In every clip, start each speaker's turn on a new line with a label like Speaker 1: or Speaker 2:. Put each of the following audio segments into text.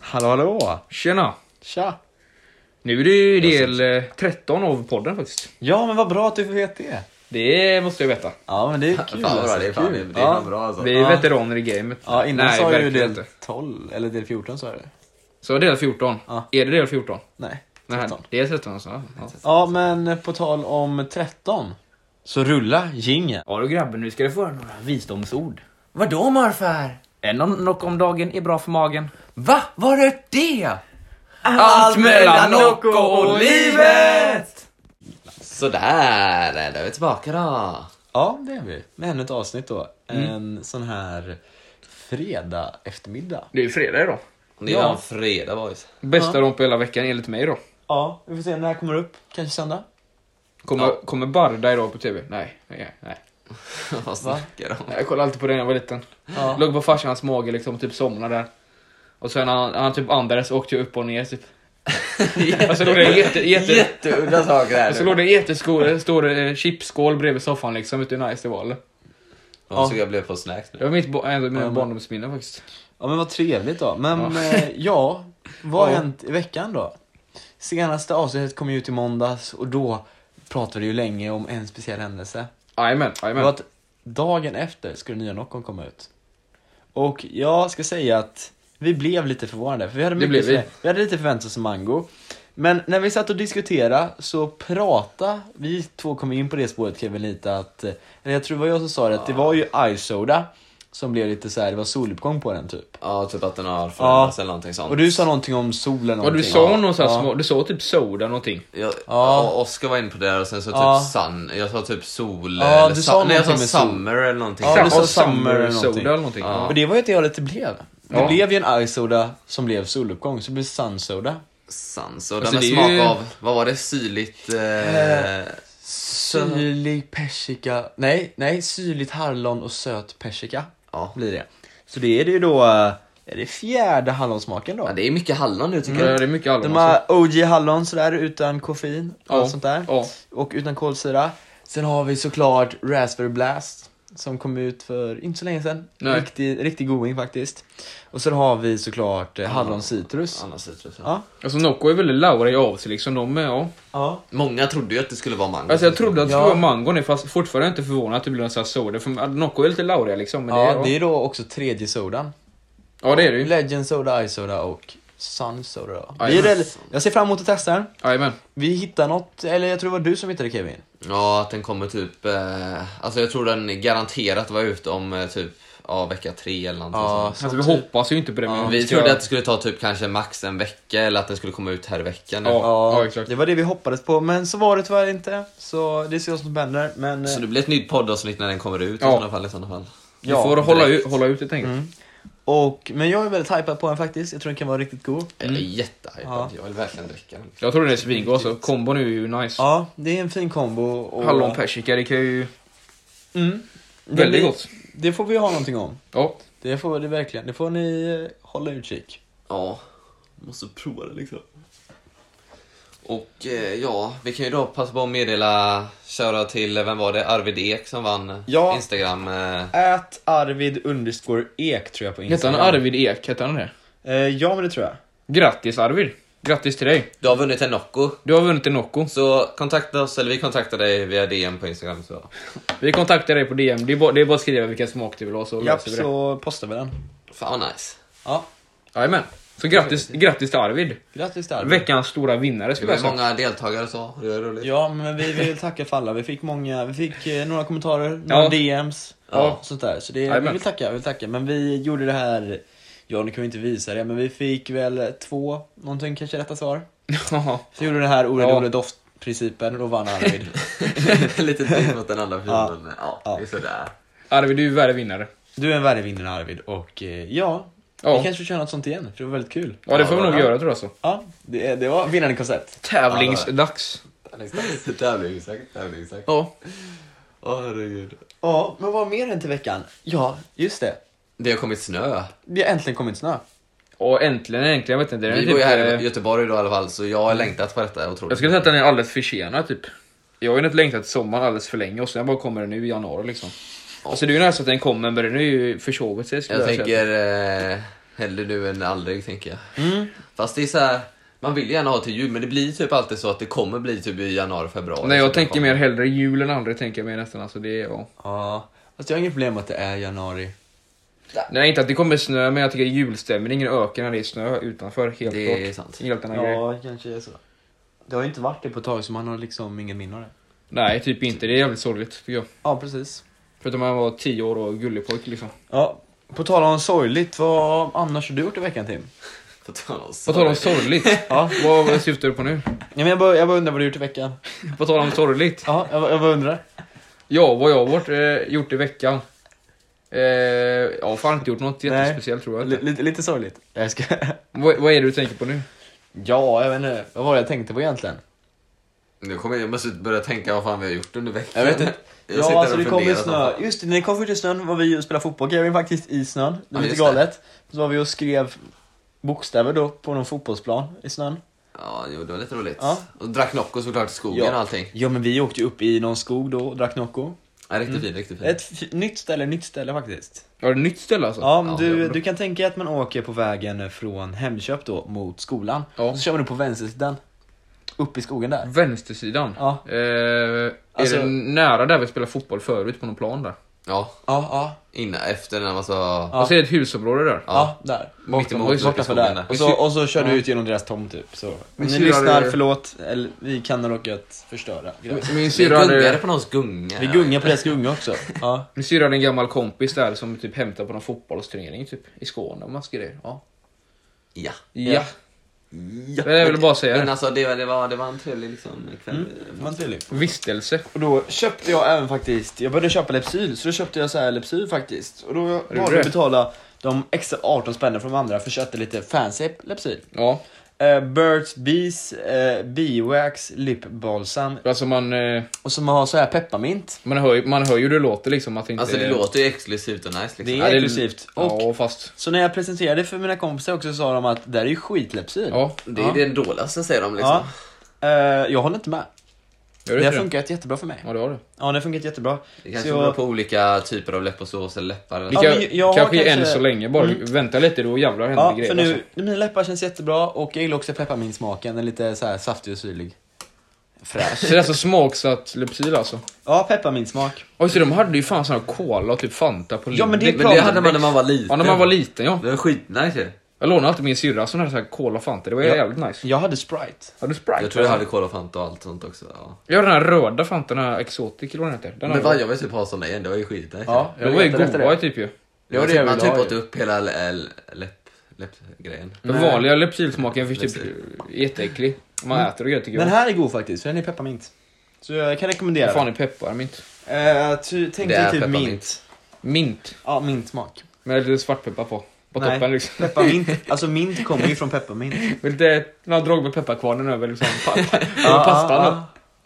Speaker 1: Hallå hallå!
Speaker 2: Tjena!
Speaker 1: Tja!
Speaker 2: Nu är det ju del eh, 13 av podden faktiskt.
Speaker 1: Ja men vad bra att du får veta det.
Speaker 2: Det måste jag veta.
Speaker 1: Ja men det är kul
Speaker 3: vad bra,
Speaker 1: alltså.
Speaker 3: det är fan-
Speaker 1: kul.
Speaker 3: det är fan
Speaker 1: ja.
Speaker 3: bra alltså.
Speaker 2: Vi är
Speaker 1: Ja.
Speaker 2: veteraner i gamet.
Speaker 1: Ja innan sa jag ju
Speaker 2: verkligen
Speaker 1: del
Speaker 2: inte.
Speaker 1: 12, eller del 14 sa jag det.
Speaker 2: Så del 14.
Speaker 1: Ja.
Speaker 2: Är det del 14?
Speaker 1: Nej,
Speaker 2: Nej,
Speaker 1: 13.
Speaker 2: Det är 13 alltså. Ja,
Speaker 1: Ja men på tal om 13. Så rulla jingeln.
Speaker 2: ja du grabben, nu ska du få höra några visdomsord. Vadå morfar? En om- knock om dagen är bra för magen.
Speaker 3: Va? Var det det? Sådär, då är vi tillbaka då.
Speaker 1: Ja det är vi. Med ännu ett avsnitt då. En sån här fredag eftermiddag.
Speaker 2: Det är ju fredag idag.
Speaker 3: Det är
Speaker 1: Ja.
Speaker 3: ja. en fredag boys.
Speaker 2: Bästa ja. på hela veckan enligt mig då.
Speaker 1: Ja, vi får se när det här kommer upp. Kanske söndag?
Speaker 2: Kommer, kommer Barda idag på TV? Nej, nej, nej.
Speaker 3: Vad snackar du om?
Speaker 2: Jag kollade alltid på det när jag var liten.
Speaker 1: Ja.
Speaker 2: Låg på farsans mage liksom och typ somnade där. Och sen när han, han typ andades åkte jag upp och ner typ. Och så låg det en jätte, jätte,
Speaker 3: Jätteudda saker här
Speaker 2: och så
Speaker 1: Alltså,
Speaker 3: nu.
Speaker 2: låg det en jättestor stor, eh, chipsskål bredvid soffan liksom. Vet du hur nice det var eller?
Speaker 3: Ja. Så jag blev på snacks
Speaker 2: Det
Speaker 3: nu.
Speaker 2: var mitt, bo- en av mina
Speaker 1: Ja, men-
Speaker 2: barndomsminnen faktiskt.
Speaker 1: Ja men vad trevligt då. Men
Speaker 2: Ja.
Speaker 1: ja, eh, ja vad har
Speaker 2: Ja.
Speaker 1: hänt i veckan då? Senaste avsnittet kom ju ut i måndags och då pratade vi ju länge om en speciell händelse.
Speaker 2: Jajamän,
Speaker 1: Det var
Speaker 2: jajamän.
Speaker 1: att dagen efter skulle nya Nocon komma ut. Och jag ska säga att vi blev lite förvånade, för vi hade,
Speaker 2: Det
Speaker 1: mycket
Speaker 2: blev vi.
Speaker 1: förvä- vi hade lite förväntat oss om Mango. Men när vi satt och diskuterade så prata, vi två kom in på det spåret Kevin lite att, eh, eller jag tror det var jag som sa det, att det var ju Isoda som blev lite så här, det var soluppgång på den typ.
Speaker 3: Ja, typ att den har förändrats eller någonting sånt.
Speaker 1: Och du sa någonting om solen
Speaker 2: Och du
Speaker 1: någonting.
Speaker 2: sa någon så här
Speaker 1: ja.
Speaker 2: små, du sa typ soda någonting.
Speaker 3: Jag,
Speaker 1: Ja.
Speaker 3: ja. Oskar var inne på det här och sen så typ
Speaker 1: Ja.
Speaker 3: sun. Jag sa typ sol.
Speaker 1: Ja,
Speaker 3: eller
Speaker 1: du
Speaker 3: sun-
Speaker 1: sa
Speaker 3: Nej, jag sa
Speaker 1: någonting med sol.
Speaker 3: summer eller någonting.
Speaker 1: Ja, du sa
Speaker 2: Och
Speaker 1: summer eller någonting.
Speaker 2: soda eller någonting.
Speaker 3: Ja.
Speaker 1: Och det var ju det jag det blev. Det
Speaker 2: Ja.
Speaker 1: blev ju en Isoda som blev soluppgång, så det blev Sunsoda.
Speaker 3: Sans. Och
Speaker 2: Alltså,
Speaker 3: den med
Speaker 2: det är
Speaker 3: smak
Speaker 2: ju-
Speaker 3: av, vad var det, syrligt... Eh, sö-
Speaker 1: Syrlig persika, nej, nej, syrligt hallon och söt persika
Speaker 3: Ja.
Speaker 1: blir det. Så det är det ju då, eh, är det fjärde hallonsmaken då?
Speaker 3: ja, det är mycket hallon nu tycker
Speaker 2: Ja,
Speaker 1: Mm.
Speaker 3: jag.
Speaker 2: Det är mycket alltså. allvar.
Speaker 1: De har OG hallon sådär utan koffein och
Speaker 2: Ja,
Speaker 1: allt sånt där.
Speaker 2: ja.
Speaker 1: Och utan kolsyra. Sen har vi såklart Raspberry Blast som kom ut för inte så länge sedan.
Speaker 2: Nej.
Speaker 1: Riktig, riktig goding faktiskt. Och sen har vi såklart eh, hallon citrus.
Speaker 3: Annars citrus.
Speaker 1: Ja.
Speaker 2: Alltså Nocco är väldigt lauriga av sig liksom. De är, ja.
Speaker 1: Ja.
Speaker 3: Många trodde ju att det skulle vara mango.
Speaker 2: Alltså jag trodde att det
Speaker 1: Ja.
Speaker 2: var mango nu fast fortfarande är jag inte förvånad att det blir en sån här soda. För Nocco är lite lauriga liksom. Men
Speaker 1: ja,
Speaker 2: det,
Speaker 1: det
Speaker 2: är,
Speaker 1: är då också tredje sodan.
Speaker 2: ja det är det ju.
Speaker 1: Legend soda, Ice soda och Sun soda. då.
Speaker 2: Aj,
Speaker 1: Vi är
Speaker 2: men-
Speaker 1: rel- jag ser fram emot att testa den.
Speaker 2: Jajamän.
Speaker 1: Vi hittar något, eller jag tror det var du som hittade Kevin.
Speaker 3: Ja, att den kommer typ... Eh, alltså jag tror den garanterat var ute om eh, typ ja, vecka tre eller någonting sånt.
Speaker 2: Alltså
Speaker 1: typ.
Speaker 2: vi hoppas ju inte på det. men
Speaker 3: Vi
Speaker 2: ska-
Speaker 3: trodde att det skulle ta typ kanske max en vecka eller att den skulle komma ut här i veckan. nu.
Speaker 2: Ja.
Speaker 1: Ja,
Speaker 2: exakt.
Speaker 1: det var det vi hoppades på, men så var det tyvärr inte. Så det ser jag som händer, men... eh,
Speaker 3: Så det blir ett nytt poddavsnitt när den kommer ut
Speaker 2: Ja.
Speaker 3: i sådana fall. I sådana fall.
Speaker 2: Vi
Speaker 1: ja,
Speaker 2: får hålla,
Speaker 3: direkt.
Speaker 2: ut- hålla ut helt enkelt.
Speaker 1: Och, men jag är väldigt hypad på den faktiskt, jag tror den kan vara riktigt god.
Speaker 3: Jag
Speaker 2: Mm.
Speaker 3: är jättehypad.
Speaker 1: Ja.
Speaker 3: Jag vill verkligen dricka den.
Speaker 2: Jag tror det är svingod alltså. Kombon är ju nice.
Speaker 1: Ja, det är en fin kombo. Och...
Speaker 2: Hallon persika, det kan ju...
Speaker 1: Mm. Det
Speaker 2: Väldigt
Speaker 1: blir-
Speaker 2: gott.
Speaker 1: Det får vi ha någonting om.
Speaker 2: Ja.
Speaker 1: Det får, det verkligen, det får ni eh, hålla utkik.
Speaker 3: Ja, måste prova det liksom. Och eh, ja, vi kan ju då passa på att meddela, köra till, eh, vem var det, Arvid Ek som vann
Speaker 1: Ja.
Speaker 3: Instagram. Eh,
Speaker 1: Ät Arvid underscore ek tror jag på
Speaker 2: Hette
Speaker 1: Instagram.
Speaker 2: han Arvid Ek? Hette han det?
Speaker 1: Eh, ja, men det tror jag.
Speaker 2: Grattis Arvid! Grattis till dig!
Speaker 3: du har vunnit en Nocco.
Speaker 2: Du har vunnit en Nocco.
Speaker 3: Så kontakta oss, eller vi kontaktar dig via DM på Instagram. Så.
Speaker 2: Vi kontaktar dig på DM. Det är bara, det är bara att skriva vilken smak du vill ha så
Speaker 1: Japp,
Speaker 2: löser vi det.
Speaker 1: så postar vi den.
Speaker 3: Fan vad nice.
Speaker 1: Ja,
Speaker 2: Jajamän. Så grattis, grattis till Arvid!
Speaker 1: grattis till Arvid.
Speaker 2: Veckans stora vinnare
Speaker 3: Det
Speaker 2: skulle jag
Speaker 3: var
Speaker 2: säga.
Speaker 3: många deltagare och så, det är roligt.
Speaker 1: Ja, men vi vill tacka för alla. Vi fick många, vi fick eh, några kommentarer, några
Speaker 2: Ja.
Speaker 1: DMs,
Speaker 2: Ja.
Speaker 1: sånt där. Så det, vi
Speaker 2: Jajamän.
Speaker 1: vill tacka, vi vill tacka. Men vi gjorde det här, ja nu kan vi inte visa det, men vi fick väl två, någonting kanske rätta svar. Så
Speaker 2: Ja.
Speaker 1: vi gjorde den här
Speaker 2: Ja.
Speaker 1: oredoble doftprincipen och då vann Arvid.
Speaker 3: Lite dyrt mot den andra
Speaker 1: Ja.
Speaker 3: filmen. Ja,
Speaker 1: Ja.
Speaker 3: det är sådär.
Speaker 2: Arvid, du är värre vinnare.
Speaker 1: Du är en värre vinnare Arvid och eh, ja,
Speaker 2: Ja.
Speaker 1: vi kanske får köra något sånt igen, för det var väldigt kul.
Speaker 2: Ja, det får vi
Speaker 3: Ja,
Speaker 2: nog
Speaker 3: bra.
Speaker 2: göra tror jag. alltså. Så.
Speaker 1: Ja, det, det var vinnande koncept.
Speaker 2: Tävlingsdags.
Speaker 3: Tävlingsakt, tävlingsakt.
Speaker 2: Ja.
Speaker 3: Åh herregud.
Speaker 1: Ja, men vad har mer hänt i veckan? Ja, just det.
Speaker 3: Det har kommit snö.
Speaker 1: Vi har äntligen kommit snö.
Speaker 2: Och äntligen, äntligen. Jag vet inte. Det är
Speaker 3: Vi
Speaker 2: typ,
Speaker 3: bor ju här
Speaker 2: eh,
Speaker 3: i Göteborg idag i alla fall, så jag har längtat på detta otroligt.
Speaker 2: Jag skulle säga att den är alldeles förtjänad typ. Jag har ju inte längtat till sommaren alldeles för länge och sen bara kommer den nu i januari liksom. Alltså det är ju nästan att den kommer men den är ju försovit sig skulle
Speaker 3: Jag
Speaker 2: jag, säga.
Speaker 3: tänker eh, Hellre nu än aldrig, tänker jag.
Speaker 1: Mm.
Speaker 3: Fast det är så här, man vill gärna ha till jul, men det blir typ alltid så att det kommer bli typ i januari, februari.
Speaker 2: Nej,
Speaker 3: Så
Speaker 2: jag
Speaker 3: det
Speaker 2: tänker
Speaker 3: kommer.
Speaker 2: mer hellre jul än andra tänker jag mer nästan. Alltså, det är, ja.
Speaker 1: Ja, fast jag har inget problem med att det är januari.
Speaker 2: Nej, inte att det kommer snö, men jag tycker julstämningen ökar när det är snö utanför. Helt
Speaker 3: Det
Speaker 2: klart.
Speaker 3: är sant.
Speaker 2: En helt annan grej.
Speaker 1: kanske är så. Det har ju inte varit det på ett tag, så man har liksom ingen minne av det.
Speaker 2: Nej, typ inte. Det är jävligt sorgligt tycker jag.
Speaker 1: Ja, precis.
Speaker 2: Förutom att man var 10 år och gullig pojk liksom.
Speaker 1: Ja, på tal om sorgligt, vad annars har du gjort i veckan Tim?
Speaker 3: På tal om
Speaker 2: På tal om sorgligt.
Speaker 1: Ja,
Speaker 2: vad, vad syftar du på nu?
Speaker 1: ja men jag bara, jag bara undrar vad du gjort i veckan.
Speaker 2: På tal om sorgligt.
Speaker 1: Ja, jag, bara- jag bara undrar.
Speaker 2: Ja, vad jag har varit, eh, gjort i veckan? Eh, jag har fan inte gjort något
Speaker 1: Nej.
Speaker 2: jättespeciellt tror jag.
Speaker 1: L-
Speaker 2: inte.
Speaker 1: lite, lite sorgligt. Jag ska...
Speaker 2: Vad, vad är det du tänker på nu?
Speaker 1: Ja, jag vet inte. Vad var det jag tänkte på egentligen?
Speaker 3: Nu kommer jag, jag måste börja tänka vad fan vi har gjort under veckan.
Speaker 1: Jag vet inte.
Speaker 3: Jag sitter
Speaker 1: ja,
Speaker 3: och
Speaker 1: alltså det kom ju
Speaker 3: funderar som
Speaker 1: snö.
Speaker 3: fan.
Speaker 1: Just det, när det kom först i snön var vi och spelade fotboll. Kevin faktiskt i snön. Det var
Speaker 3: Ja,
Speaker 1: lite
Speaker 3: just det.
Speaker 1: galet. Så var vi och skrev bokstäver då på någon fotbollsplan i snön.
Speaker 3: Ja, jo, det var lite roligt.
Speaker 1: Ja.
Speaker 3: Och drack Nocco såklart i skogen
Speaker 1: Ja.
Speaker 3: och allting.
Speaker 1: Ja, men vi åkte ju upp i någon skog då och drack Nocco.
Speaker 3: Ja, riktigt fint, riktigt fint.
Speaker 1: Mm. Ett f- nytt ställe, nytt ställe faktiskt.
Speaker 2: Har du ett nytt ställe alltså?
Speaker 1: Ja, men
Speaker 3: ja, det
Speaker 1: du,
Speaker 3: var bra.
Speaker 1: du kan tänka dig att man åker på vägen från Hemköp då mot skolan.
Speaker 2: Ja.
Speaker 1: Så kör man upp på vänstersidan. Upp i skogen där.
Speaker 2: Vänstersidan?
Speaker 1: Ja.
Speaker 2: Eh,
Speaker 1: Alltså-
Speaker 2: är det nära där vi spelade fotboll förut på någon plan där?
Speaker 3: Ja,
Speaker 1: Ja, ja,
Speaker 3: innan, efter när man så...
Speaker 1: Ja.
Speaker 3: Ja.
Speaker 2: Och så är Alltså, det ett husområde där.
Speaker 1: ja, där.
Speaker 3: Mitt
Speaker 2: Bortom-
Speaker 3: emot
Speaker 1: Borta för där. Och så, och så kör du
Speaker 2: Ja.
Speaker 1: ut genom deras tomt typ. Så. Om
Speaker 2: Men
Speaker 1: ni
Speaker 2: syrar
Speaker 1: lyssnar,
Speaker 2: det-
Speaker 1: förlåt. Eller, vi kan ha råkat förstöra.
Speaker 2: Min
Speaker 3: Vi
Speaker 2: syrra
Speaker 3: gungade
Speaker 2: hade,
Speaker 3: på någons gunga.
Speaker 1: Vi gungar på deras gunga också. Ja.
Speaker 2: min syrra hade en gammal kompis där som typ hämtade på någon fotbollsturnering typ, i Skåne och massa grejer. Ja.
Speaker 3: Ja.
Speaker 2: ja.
Speaker 1: Ja.
Speaker 2: Men Jag ville bara säga
Speaker 3: Men
Speaker 2: det.
Speaker 3: alltså det, var- det, var, det var en trevlig liksom,
Speaker 1: Mm,
Speaker 3: kväll.
Speaker 2: Vistelse.
Speaker 1: Och då köpte jag även faktiskt, jag började köpa Lepsyl, så då köpte jag så här Lepsyl faktiskt. Och då valde jag
Speaker 2: det?
Speaker 1: att betala de extra 18 spännen från de andra för att köpa lite fancy Lepsyl.
Speaker 2: Ja.
Speaker 1: Eh, Birds Bees, eh, Beewax, Lip Balsam.
Speaker 2: Alltså man, eh,
Speaker 1: Och som har så här pepparmint.
Speaker 2: man, hör, ju- man hör ju hur det låter liksom. Att det inte
Speaker 3: Alltså det
Speaker 2: är-
Speaker 3: låter ju exklusivt och nice
Speaker 1: Det
Speaker 3: liksom.
Speaker 1: är
Speaker 2: det-
Speaker 1: exklusivt. Och,
Speaker 2: Ja, fast...
Speaker 1: Så när jag presenterade för mina kompisar också så sa de att det här är ju skitlepsyl.
Speaker 2: Ja,
Speaker 3: Det är
Speaker 1: Ja.
Speaker 3: det dåligaste säger de liksom.
Speaker 1: Ja. Eh, jag håller inte med.
Speaker 2: gör
Speaker 1: Det
Speaker 2: det
Speaker 1: har
Speaker 2: inte det?
Speaker 1: funkat jättebra för mig.
Speaker 2: Ja, det har det.
Speaker 1: Ja, det har funkat jättebra.
Speaker 3: Det kanske
Speaker 1: Så jag-
Speaker 3: beror på olika typer av läppåsås eller läppar. Eller
Speaker 2: Vi
Speaker 1: Ja,
Speaker 2: kan,
Speaker 1: men jag- jag har
Speaker 2: kanske,
Speaker 1: kanske- Mm.
Speaker 2: än så länge bara vänta lite, då jävlar händer
Speaker 1: Ja,
Speaker 2: det grejer.
Speaker 1: för nu,
Speaker 2: Alltså.
Speaker 1: mina läppar känns jättebra och jag gillar också pepparmintsmaken. Den är lite så här saftig och syrlig. Fräsch.
Speaker 2: Så det är alltså smaksatt Lypsyl alltså.
Speaker 1: Ja, pepparmintsmak.
Speaker 2: Oj, så de hade ju fan sån här cola och typ Fanta på
Speaker 1: Ja, men det är
Speaker 2: Lidl.
Speaker 3: Men det hade man när man var liten.
Speaker 2: Ja, när man var liten ja.
Speaker 3: Det var skitnice ju.
Speaker 2: Jag lånade alltid min syrra som hade så här cola och Fanta, det var
Speaker 1: Ja.
Speaker 2: jävligt nice.
Speaker 1: Jag hade Sprite.
Speaker 2: Har du Sprite?
Speaker 3: Jag tror jag hade Cola Fanta och allt sånt också. Ja.
Speaker 2: Jag har den här röda Fanta, den här Exotic eller vad den heter. Den
Speaker 3: Men
Speaker 2: har
Speaker 3: vad jag vill typ ha såna igen, det var ju skitnice.
Speaker 1: Ja,
Speaker 2: jag, var ju
Speaker 1: letar efter
Speaker 2: goa typ ju.
Speaker 1: det var det jag
Speaker 3: man
Speaker 1: ville
Speaker 3: typ
Speaker 1: ha
Speaker 3: åt
Speaker 1: ju. Mm.
Speaker 3: upp hela l- l- läpp... läppgrejen.
Speaker 2: Den
Speaker 1: Nej.
Speaker 2: vanliga Lypsylsmaken fick typ jätteäcklig. Man äter och gör tycker
Speaker 1: Den
Speaker 2: jag.
Speaker 1: här är god faktiskt, för den är pepparmint. Så jag kan rekommendera
Speaker 2: Vad fan är pepparmint?
Speaker 1: den. Eh, ty, tänk
Speaker 3: Det
Speaker 1: dig
Speaker 3: är
Speaker 1: typ
Speaker 3: pepparmint.
Speaker 1: mint.
Speaker 2: Mint.
Speaker 1: Ja, mintsmak.
Speaker 2: Med lite svartpeppar på. På
Speaker 1: Nej.
Speaker 2: toppen liksom.
Speaker 1: Pepparmint, alltså mint kommer ju från pepparmint.
Speaker 2: Med lite, några drag med pepparkvarnen över liksom. Pa, pa, över pastan. då.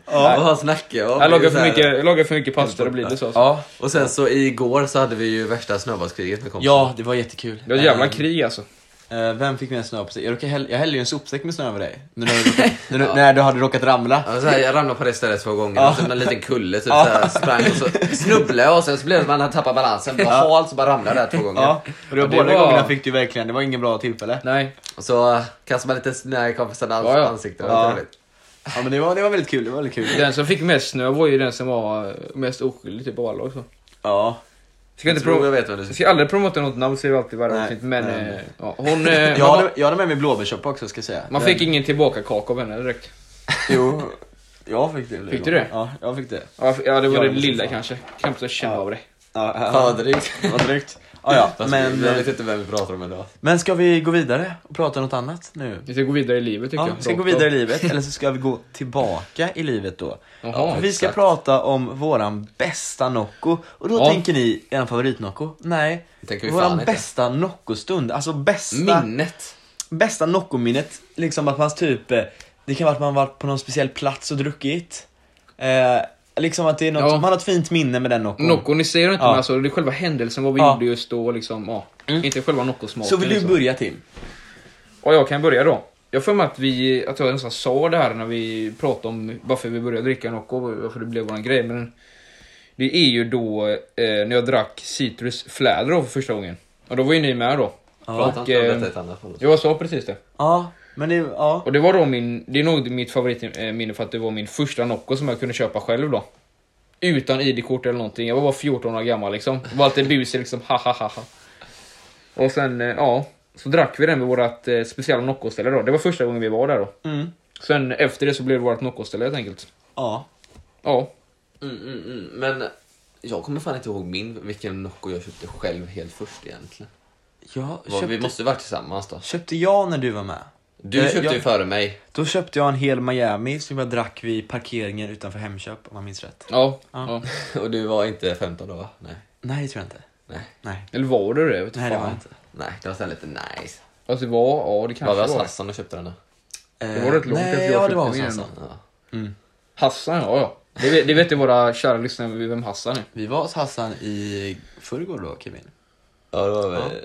Speaker 1: Ja,
Speaker 3: Vad han snackar om.
Speaker 2: Jag
Speaker 3: Det är
Speaker 2: lagar
Speaker 3: så
Speaker 2: för
Speaker 3: här-
Speaker 2: mycket, jag lagar för mycket pasta, då blir det så. Alltså.
Speaker 1: ja.
Speaker 3: Och sen så igår så hade vi ju värsta snöbollskriget med kompisar.
Speaker 1: ja, det var jättekul. Ehm,
Speaker 2: Det var ett jävla krig alltså.
Speaker 1: Eh, vem fick mer snö på sig? Jag, råkade häll, jag hällde ju en sopsäck med snö över dig. När du, hade råkat, när du, när du hade råkat ramla.
Speaker 3: Ja, så här, jag ramlade på det stället två gånger,
Speaker 1: Ja.
Speaker 3: och så en liten kulle typ, så här, sprang och så snubblade jag och sen så blev det att man hade tappat balansen, det var halt så bara ramlade jag där två gånger.
Speaker 1: Ja, och det var
Speaker 2: Ja, det
Speaker 1: båda
Speaker 2: var-
Speaker 1: gångerna fick du verkligen, det var ingen bra tillfälle.
Speaker 2: Nej.
Speaker 3: Och så uh, kastade man lite snö i kompisarnas
Speaker 2: Ja, ja.
Speaker 3: ansikten. Det var
Speaker 1: Ja.
Speaker 3: trevligt.
Speaker 1: Ja men det var, det var väldigt kul, det var väldigt kul.
Speaker 2: Den som fick mest snö var ju den som var eh, mest oskyldig typ av alla också.
Speaker 1: Ja.
Speaker 2: Ska
Speaker 3: Jag
Speaker 2: inte
Speaker 3: tror
Speaker 2: pro-
Speaker 3: jag vet vad du
Speaker 2: jag ska aldrig promota något namn, säger vi alltid i varje
Speaker 1: Nej,
Speaker 2: avsnitt. Men
Speaker 1: nej.
Speaker 2: eh, ja, hon... eh,
Speaker 1: Jag
Speaker 2: man,
Speaker 1: hade, jag hade med mig blåbärssoppa också ska jag säga.
Speaker 2: man fick ingen tillbaka-kaka av henne direkt.
Speaker 1: Jo. Jag fick det.
Speaker 2: Fick du det?
Speaker 1: Ja, jag fick det.
Speaker 2: Ja, f- ja det var
Speaker 1: Ja,
Speaker 2: det
Speaker 1: men
Speaker 2: lilla
Speaker 1: fan.
Speaker 2: kanske. Knappt jag kände
Speaker 1: Ja.
Speaker 2: av det.
Speaker 1: Ja, ja.
Speaker 3: Fan vad drygt.
Speaker 1: Vad drygt. Ja, ja.
Speaker 3: Fast men, jag
Speaker 1: Men,
Speaker 3: vet inte vem vi pratar om idag.
Speaker 1: men ska vi gå vidare och prata om något annat nu?
Speaker 2: Vi ska gå vidare i livet tycker
Speaker 1: Ja,
Speaker 2: jag.
Speaker 1: vi ska
Speaker 2: Rakt
Speaker 1: gå
Speaker 2: av.
Speaker 1: vidare i livet, eller så ska vi gå tillbaka i livet då.
Speaker 2: Jaha.
Speaker 1: vi ska
Speaker 3: exakt.
Speaker 1: prata om våran bästa Nocco. Och då
Speaker 2: Ja.
Speaker 1: tänker ni, er favoritnocco? Nej.
Speaker 3: Det tänker vi fan
Speaker 1: Våran
Speaker 3: inte.
Speaker 1: bästa Nocco-stund. Alltså bästa...
Speaker 3: Minnet.
Speaker 1: Bästa Nocco-minnet, liksom att man typ, eh, det kan vara att man varit på någon speciell plats och druckit. Eh, liksom att det är något,
Speaker 2: Ja.
Speaker 1: man har ett fint minne med den Noccon.
Speaker 2: Nocco, ni ser inte
Speaker 1: Ja.
Speaker 2: men alltså det är själva händelsen, vad vi
Speaker 1: Ja.
Speaker 2: gjorde just då liksom. Ja.
Speaker 1: Mm.
Speaker 2: Inte själva Nocco-smaken.
Speaker 1: Så vill du
Speaker 2: liksom.
Speaker 1: börja Tim?
Speaker 2: Ja, jag kan börja då. Jag får med att, vi, att jag nästan sa det här när vi pratade om varför vi började dricka Nocco, varför det blev våran grej. Men det är ju då eh, när jag drack Citrus Fläder då för första gången. Och då var ju ni med då.
Speaker 1: Ja,
Speaker 3: Prata inte om
Speaker 2: eh,
Speaker 3: detta i ett annat fall.
Speaker 2: Jag sa precis det.
Speaker 1: ja men det, ja.
Speaker 2: Och det var då min, det är nog mitt favoritminne för att det var min första Nocco som jag kunde köpa själv då. Utan ID-kort eller någonting. Jag var bara 14 år gammal liksom. Var alltid busig liksom, ha ha ha ha. Och sen, eh, ja. Så drack vi den vid vårt eh, speciella Nocco-ställe då. Det var första gången vi var där då.
Speaker 1: Mm,
Speaker 2: Sen efter det så blev det vårt Nocco-ställe helt enkelt.
Speaker 1: ja.
Speaker 2: Ja.
Speaker 3: Mm, mm, mm. Men jag kommer fan inte ihåg min, vilken Nocco jag köpte själv helt först egentligen.
Speaker 1: Jag
Speaker 3: Vad- Vi
Speaker 1: köpte,
Speaker 3: måste vara tillsammans då.
Speaker 1: köpte jag när du var med?
Speaker 3: Du
Speaker 1: Eh,
Speaker 3: köpte
Speaker 1: jag-
Speaker 3: ju före mig.
Speaker 1: Då köpte jag en hel Miami som jag drack vid parkeringen utanför Hemköp om jag minns rätt.
Speaker 2: Ja.
Speaker 1: Ja.
Speaker 2: ja.
Speaker 3: Och du var inte 15 då va? Nej.
Speaker 1: Nej, det tror jag inte.
Speaker 3: Nej.
Speaker 1: Nej,
Speaker 2: Eller var du det? Jag vet
Speaker 1: Nej det
Speaker 2: fan.
Speaker 1: var jag inte.
Speaker 3: Nej, det var så här lite nice.
Speaker 2: Fast det var, ja det
Speaker 3: Var
Speaker 2: kanske
Speaker 3: vi
Speaker 2: var.
Speaker 3: hos Hassan och köpte den då?
Speaker 1: Eh,
Speaker 2: var rätt långt efter
Speaker 1: Nej, ja det
Speaker 2: jag köpte
Speaker 1: var alltså. hos
Speaker 2: min
Speaker 1: Hassan.
Speaker 2: ändå.
Speaker 3: Ja.
Speaker 2: Hassan, ja ja. Det vet, det vet ju våra kära lyssnare vem Hassan är.
Speaker 1: Vi var hos Hassan i förrgår då, Kevin.
Speaker 3: Ja, det var väl... Ja.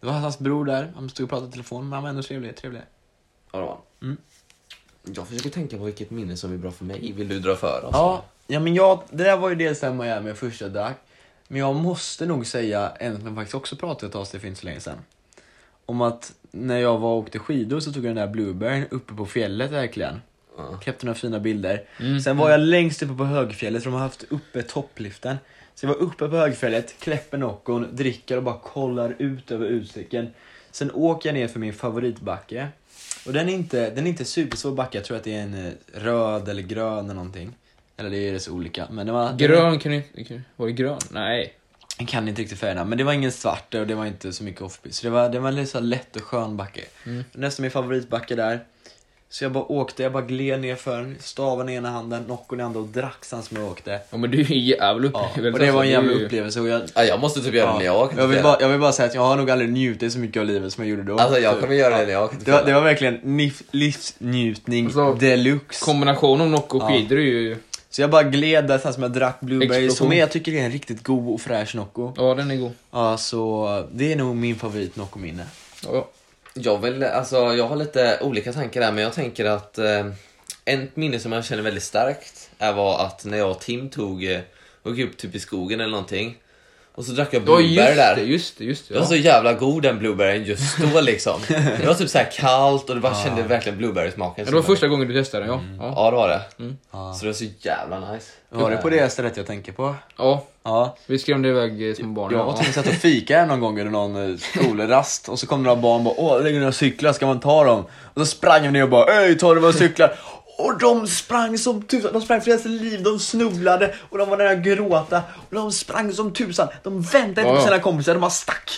Speaker 1: Det var Hassans bror där, han stod och pratade i telefon, men han var ändå trevlig. trevlig.
Speaker 3: det var han.
Speaker 1: Mm.
Speaker 3: Jag försöker tänka på vilket minne som är bra för mig. Vill du dra för oss?
Speaker 1: Ja, ja, men jag, det där var ju dels den Miami jag första drack. Men jag måste nog säga en som jag faktiskt också pratade ett tag sedan, för inte så länge sedan. Om att när jag var och åkte skidor så tog jag den där bluebären uppe på fjället verkligen.
Speaker 3: Ja.
Speaker 1: Knäppte några fina bilder. Sen var jag längst uppe på högfjället, för de har haft uppe toppliften. Så jag var uppe på högfjället, knäpper Noccon, dricker och bara kollar ut över utsikten. Sen åker jag ner för min favoritbacke. Och den är inte, den är inte supersvår backe, jag tror att det är en eh, röd eller grön eller någonting. Eller det är så olika. Men det var,
Speaker 2: Grön kan ni kan- Var det grön? Nej.
Speaker 1: jag kan inte riktigt färgerna, men det var ingen svart och det var inte så mycket offbeat. Så det var, det var en lite så här lätt och skön backe.
Speaker 2: Mm.
Speaker 1: Nästan min favoritbacke där. Så jag bara åkte, jag bara gled ner för den, staven i ena handen, nockon i andra och drack sen som jag åkte.
Speaker 2: Ja men du är ju en jävla
Speaker 1: Ja,
Speaker 2: upplevelse.
Speaker 1: och det var en
Speaker 2: alltså.
Speaker 1: jävla
Speaker 2: Du är ju-
Speaker 1: upplevelse och jag...
Speaker 3: Ja, jag måste typ göra det när jag kan
Speaker 1: jag, vill
Speaker 3: inte göra
Speaker 1: bara, jag vill bara säga att jag har nog aldrig njutit så mycket av livet som jag gjorde då.
Speaker 3: det. Alltså jag
Speaker 1: Typ.
Speaker 3: kommer göra det
Speaker 1: Ja.
Speaker 3: när jag kan
Speaker 1: det,
Speaker 3: inte
Speaker 1: var,
Speaker 3: göra
Speaker 1: det var verkligen nif- livsnjutning
Speaker 2: Alltså,
Speaker 1: deluxe.
Speaker 2: Kombination av Nocco och
Speaker 1: Ja.
Speaker 2: skidor är ju...
Speaker 1: Så jag bara gled där sen som jag drack blueberry
Speaker 2: Explosion.
Speaker 1: som jag tycker är en riktigt god och fräsch Nocco.
Speaker 2: Ja den är god.
Speaker 1: Ja, så det är nog min favorit Nocco-minne.
Speaker 2: Ja, ja.
Speaker 3: Jag, vill, alltså, jag har lite olika tankar där, men jag tänker att eh, ett minne som jag känner väldigt starkt är var att när jag och Tim tog eh, och gick upp typ i skogen eller någonting och så drack jag
Speaker 2: ja
Speaker 3: blåbär
Speaker 2: just
Speaker 3: Mm, där.
Speaker 2: det, just det, just det.
Speaker 3: Det var
Speaker 2: Ja.
Speaker 3: så jävla god den blueberryn just då liksom. Det var typ så här kallt och det bara kände verkligen
Speaker 2: Ah. Ja,
Speaker 3: blueberry-smaken.
Speaker 2: det var Mm. första gången du testade den ja. Ja.
Speaker 3: Ja, det var det.
Speaker 1: Ja.
Speaker 3: Så det var så jävla nice.
Speaker 1: Var det på det stället jag tänker på?
Speaker 2: ja.
Speaker 1: Ja.
Speaker 2: Vi skrämde iväg eh, små barn.
Speaker 1: Jag
Speaker 2: Ja.
Speaker 1: och Tim satt och fikade här någon gång under någon eh, skolrast och så kom några barn och bara åh, det ligger några cyklar, ska man ta dem? Och så sprang vi ner och bara öj, ta våra cyklar. Och de sprang som tusan, de sprang för deras liv, de snubblade och de var nära att gråta. Och de sprang som tusan, de väntade inte
Speaker 2: Ja,
Speaker 1: på
Speaker 2: ja.
Speaker 1: sina kompisar, de bara stack.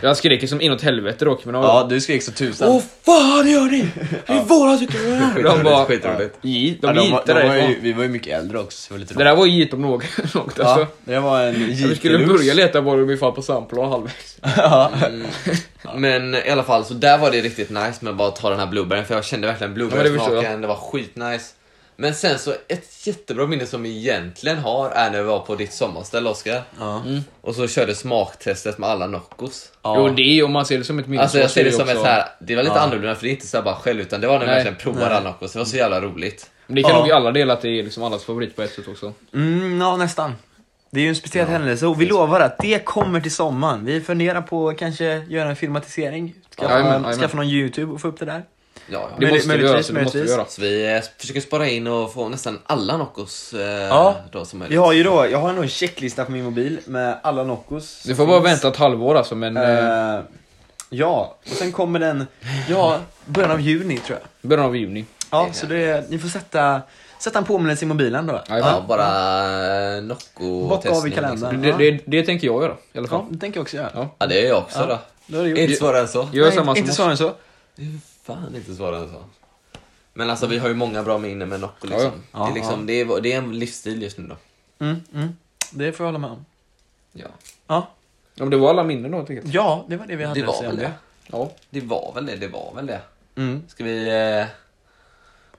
Speaker 2: Jag skrek som inåt helvete dock. Men ja.
Speaker 1: Ja, du skrek så tusan.
Speaker 2: Åh fan gör ni? Det är våra cyklar! De bara...
Speaker 3: skitroligt.
Speaker 2: Gi-
Speaker 1: ja,
Speaker 2: De
Speaker 1: de, var-
Speaker 2: gitar
Speaker 1: de var ju,
Speaker 2: därifrån.
Speaker 1: vi var ju mycket äldre också, så det var lite
Speaker 2: Det där var ju git om något. något,
Speaker 1: Ja,
Speaker 2: alltså.
Speaker 1: det var en
Speaker 2: Vi skulle börja leta var vi fan på samplan halvvägs.
Speaker 1: Mm.
Speaker 3: Men i alla fall, så där var det riktigt nice med att bara ta den här blueberryn för jag kände verkligen
Speaker 2: Ja, det
Speaker 3: blueberry-smaken,
Speaker 2: förstår
Speaker 3: det var skitnice. Men sen så ett jättebra minne som vi egentligen har är när vi var på ditt sommarställe Oskar. Mm.
Speaker 1: Ja.
Speaker 3: Och så körde smaktestet med alla Noccos.
Speaker 1: Ja.
Speaker 2: Jo det är om man ser det som ett minne.
Speaker 3: Alltså jag
Speaker 2: så
Speaker 3: ser
Speaker 2: är
Speaker 3: det som
Speaker 2: också-
Speaker 3: ett så här, det var lite
Speaker 1: Ja.
Speaker 3: annorlunda för det är inte så här bara skäll utan det var när vi
Speaker 2: Nej.
Speaker 3: verkligen provade alla Noccos, det var så jävla roligt.
Speaker 2: Men Det kan
Speaker 1: Ja.
Speaker 2: nog i alla delar att det är liksom allas favorit på ett sätt också.
Speaker 1: Mm, ja nästan. Det är ju en speciell händelse och vi lovar att det kommer till sommaren. Vi funderar på att kanske göra en filmatisering. Skaffa,
Speaker 2: Ja, jajamän, jajamän.
Speaker 1: skaffa någon YouTube och få upp det där.
Speaker 3: Ja, ja.
Speaker 2: Det
Speaker 1: Möjli-
Speaker 2: måste vi göra.
Speaker 1: möjligtvis,
Speaker 2: så Det måste vi
Speaker 1: möjligtvis.
Speaker 2: göra.
Speaker 3: Så vi eh, försöker spara in och få nästan alla Noccos eh, då som möjligt.
Speaker 1: Jag har ju då, jag har nog en checklista på min mobil med alla Noccos.
Speaker 2: Du får bara vänta ett halvår alltså men eh,
Speaker 1: Eh, ja, och sen kommer den, ja, början av juni tror jag.
Speaker 2: början av juni.
Speaker 1: Ja, så det, ni får sätta, sätta en påminnelse i mobilen då.
Speaker 2: Ja, alltså.
Speaker 3: Ja, bara eh, Nocco-testning.
Speaker 1: Bocka av i
Speaker 3: liksom.
Speaker 1: kalendern.
Speaker 2: Det, det, det tänker jag göra i alla fall.
Speaker 1: Ja, det tänker jag också göra.
Speaker 2: Ja.
Speaker 3: Ja, det är jag också då.
Speaker 1: Då är det gjort.
Speaker 3: Inte svårare än så.
Speaker 2: Gör
Speaker 1: Nej,
Speaker 2: samma som
Speaker 1: inte
Speaker 2: oss.
Speaker 1: svårare än så.
Speaker 3: Det är fan inte svårare än så. Men alltså vi har ju många bra minnen med Nocco liksom.
Speaker 1: Ja, ja.
Speaker 3: Det, är liksom det, är, det är en livsstil just nu då.
Speaker 1: Mm, mm. Det får jag hålla med om.
Speaker 3: Ja.
Speaker 1: Ja,
Speaker 2: Ja, men det var alla minnen då tycker jag.
Speaker 1: ja det var det vi hade
Speaker 3: Det
Speaker 1: att
Speaker 3: var
Speaker 1: säga om
Speaker 3: väl
Speaker 1: det.
Speaker 3: det.
Speaker 2: Ja.
Speaker 3: Det var väl det, det var väl det.
Speaker 1: Mm.
Speaker 3: Ska vi eh,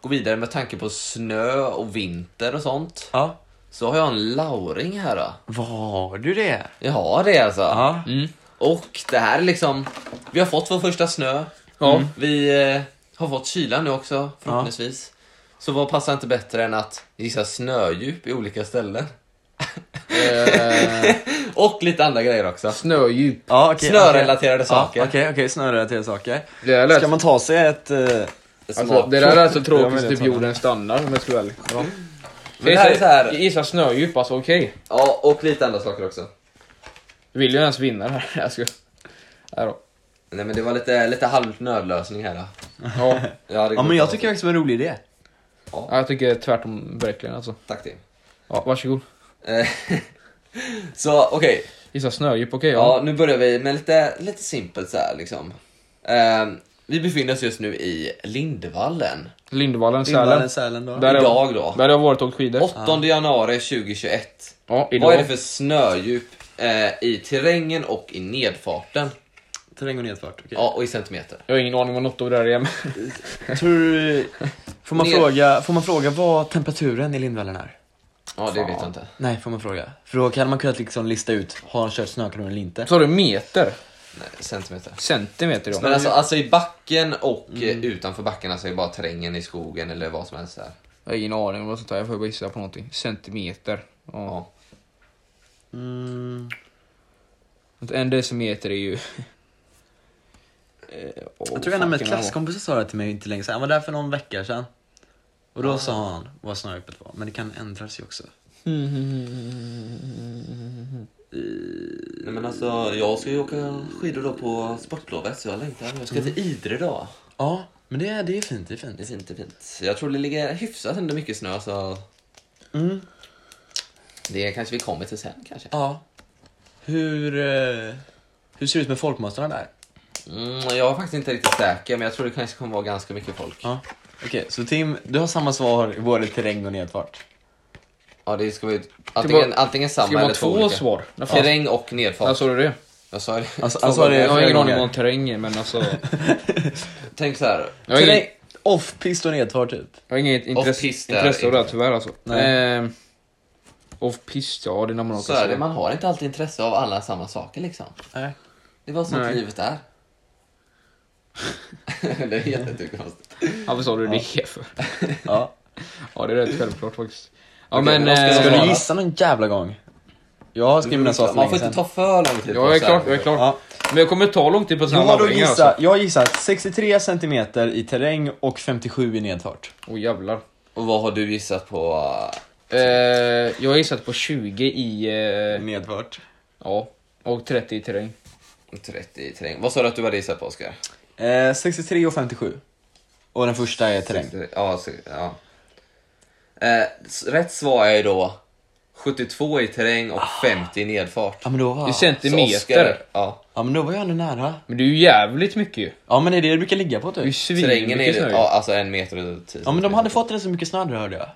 Speaker 3: gå vidare med tanke på snö och vinter och sånt.
Speaker 1: Ja.
Speaker 3: Så har jag en lauring här då.
Speaker 1: Var du det?
Speaker 3: Jag har det alltså.
Speaker 1: Ja.
Speaker 2: Mm.
Speaker 3: Och det här är liksom, vi har fått vår första snö.
Speaker 2: Ja.
Speaker 3: Vi eh, har fått kyla nu också förhoppningsvis. Så vad passar inte bättre än att gissa snödjup i olika ställen?
Speaker 2: Eh,
Speaker 3: Och lite andra grejer också.
Speaker 2: snödjup.
Speaker 1: Ja, okej,
Speaker 3: Snörelaterade
Speaker 1: okej.
Speaker 3: saker.
Speaker 1: Ja, Okej, okej, snörelaterade saker.
Speaker 2: Det där lät,
Speaker 1: Ska man ta sig ett... eh,
Speaker 2: alltså, det där lät så tråkigt
Speaker 1: Ja,
Speaker 2: så
Speaker 1: men
Speaker 2: typ
Speaker 1: det tar-
Speaker 2: jorden stannar om jag ska vara ärlig.
Speaker 3: Men det här är så här-
Speaker 2: Jag gissar snödjup alltså, okej.
Speaker 3: Ja, och lite andra saker också.
Speaker 2: Vill ju ens vinna det här. Jag ska... Nej då.
Speaker 3: Nej men det var lite, lite halv nödlösning här. Då.
Speaker 2: Ja,
Speaker 3: Ja, det
Speaker 1: Ja,
Speaker 3: går
Speaker 1: men jag
Speaker 3: bra.
Speaker 1: tycker faktiskt det var en rolig idé.
Speaker 2: Ja, jag tycker tvärtom verkligen alltså.
Speaker 3: Tack Tim.
Speaker 2: Ja, varsågod.
Speaker 3: Eh, så okej,
Speaker 2: Gissa snödjup, okej ja.
Speaker 3: ja, nu börjar vi med lite, lite simpelt så här liksom. Eh, vi befinner oss just nu i Lindvallen.
Speaker 2: Lindvallen, Sälen.
Speaker 1: Lindvallen, Sälen då.
Speaker 2: Där är-
Speaker 3: Idag då.
Speaker 2: Där har jag varit och åkt skidor.
Speaker 3: 8 januari 2021.
Speaker 2: Ja, idag.
Speaker 3: Vad är det för snödjup eh, i terrängen och i nedfarten?
Speaker 1: Terräng och nedfart. okej.
Speaker 3: Ja, och i centimeter.
Speaker 2: Jag har ingen aning vad något av det där är. men-
Speaker 1: Tror du, får, man
Speaker 3: Ned-
Speaker 1: fråga, får man fråga vad temperaturen i Lindvallen är?
Speaker 3: Ja, det
Speaker 2: Fan.
Speaker 3: vet jag inte.
Speaker 1: Nej, får man fråga. För då hade man kunnat liksom lista ut, har han kört snökanon eller inte?
Speaker 2: Sa du meter?
Speaker 3: Nej, centimeter.
Speaker 2: Centimeter ja. Mm.
Speaker 3: Men alltså, alltså i backen och eh, utanför backen, alltså i bara terrängen i skogen eller vad som helst där.
Speaker 2: Jag har ingen aning om vad sånt där Jag får bara gissa på någonting. Centimeter. Ja.
Speaker 3: Ja.
Speaker 1: Mm,
Speaker 2: En decimeter är ju... Eh, åh,
Speaker 1: jag tror en av mina
Speaker 2: fucking vad-
Speaker 1: klasskompisar sa det till mig inte länge sedan, han var där för någon vecka sedan. Och då sa han vad snödjupet var, men det kan ändras ju också.
Speaker 3: Nej men alltså, jag ska ju åka skidor då på sportlovet så jag längtar. Jag ska till Idre idag.
Speaker 1: Ja, men det, är- det är fint, det är
Speaker 3: Det är
Speaker 1: fint.
Speaker 3: fint, det är fint. Jag tror det ligger hyfsat ändå mycket snö så
Speaker 1: Mm,
Speaker 3: det kanske vi kommer till sen kanske.
Speaker 1: ja. Hur, eh, hur ser det ut med folkmassorna där?
Speaker 3: Mm, jag är faktiskt inte riktigt säker men jag tror det kanske kommer vara ganska mycket folk.
Speaker 1: Ja. Okej, så Tim, du har samma svar i både terräng och nedfart.
Speaker 3: Ja, det ska vara ju antingen, antingen
Speaker 2: Ska det
Speaker 3: samma
Speaker 2: vara
Speaker 3: eller två
Speaker 2: två
Speaker 3: olika.
Speaker 2: svar? Alltså- När fan-
Speaker 3: Terräng och nedfart.
Speaker 2: När sa du det?
Speaker 3: jag sa det.
Speaker 1: Alltså,
Speaker 3: två
Speaker 1: alltså det
Speaker 3: gånger.
Speaker 2: Jag har
Speaker 1: flera
Speaker 2: ingen aning
Speaker 1: gånger.
Speaker 2: om terrängen men alltså...
Speaker 3: Tänk så här.
Speaker 2: Jag har ingen-
Speaker 1: Terräng, off-pist och nedfart typ.
Speaker 2: Jag har inget intresse,
Speaker 3: Off-pist där,
Speaker 2: intresse av det här
Speaker 3: inte.
Speaker 2: tyvärr alltså.
Speaker 1: Nej.
Speaker 2: Ehm, Off-pist, ja det är när man åker
Speaker 3: Så är det,
Speaker 2: snö.
Speaker 3: man har inte alltid intresse av alla samma saker liksom.
Speaker 1: Nej.
Speaker 3: Det var sånt
Speaker 2: Nej.
Speaker 3: livet är. det är jättekonstigt.
Speaker 2: Ja vad sa du det för?
Speaker 1: Ja.
Speaker 2: Ja det är rätt självklart faktiskt. Ja
Speaker 3: Okej,
Speaker 2: men...
Speaker 3: men Oskar,
Speaker 2: eh,
Speaker 1: Ska
Speaker 3: Svara.
Speaker 1: du gissa någon jävla gång? Jag har skrivit mina svar för
Speaker 3: Man
Speaker 1: länge
Speaker 3: får
Speaker 1: sedan.
Speaker 3: inte ta för lång tid
Speaker 2: Ja jag är
Speaker 3: sig här.
Speaker 2: klar, jag är klar.
Speaker 1: Ja.
Speaker 2: Men jag kommer ta lång tid på
Speaker 1: Jag
Speaker 2: sådana
Speaker 1: har då
Speaker 2: laddningar alltså.
Speaker 1: gissat, jag har gissat 63 centimeter i terräng och 57 i nedfart.
Speaker 2: alltså. Åh jävlar.
Speaker 3: Och vad har du gissat på?
Speaker 2: Eh, jag har gissat på 20 i... Eh,
Speaker 1: Nedfart?
Speaker 2: ja. Och 30 i terräng.
Speaker 3: eh, 30 i terräng. Vad sa du att du hade gissat på Oskar?
Speaker 1: Eh, 63 och 57. Och den första är terräng.
Speaker 3: Ja, så- ja. Eh, s- rätt svar är ju då 72 i terräng och 50 i nedfart.
Speaker 1: Ja men, då var,
Speaker 2: I
Speaker 3: Så
Speaker 2: centimeter.
Speaker 3: Oskar, ja.
Speaker 1: ja men då var jag ändå nära.
Speaker 2: Men det är ju jävligt mycket ju.
Speaker 1: Ja men är det det brukar ligga på
Speaker 2: Det är ju
Speaker 1: typ?
Speaker 3: Terrängen är
Speaker 2: svinmycket
Speaker 3: ju
Speaker 2: snö ju.
Speaker 3: ja, alltså en meter och tio
Speaker 1: Ja men de hade
Speaker 3: centimeter.
Speaker 1: fått det så mycket snö där, hörde jag.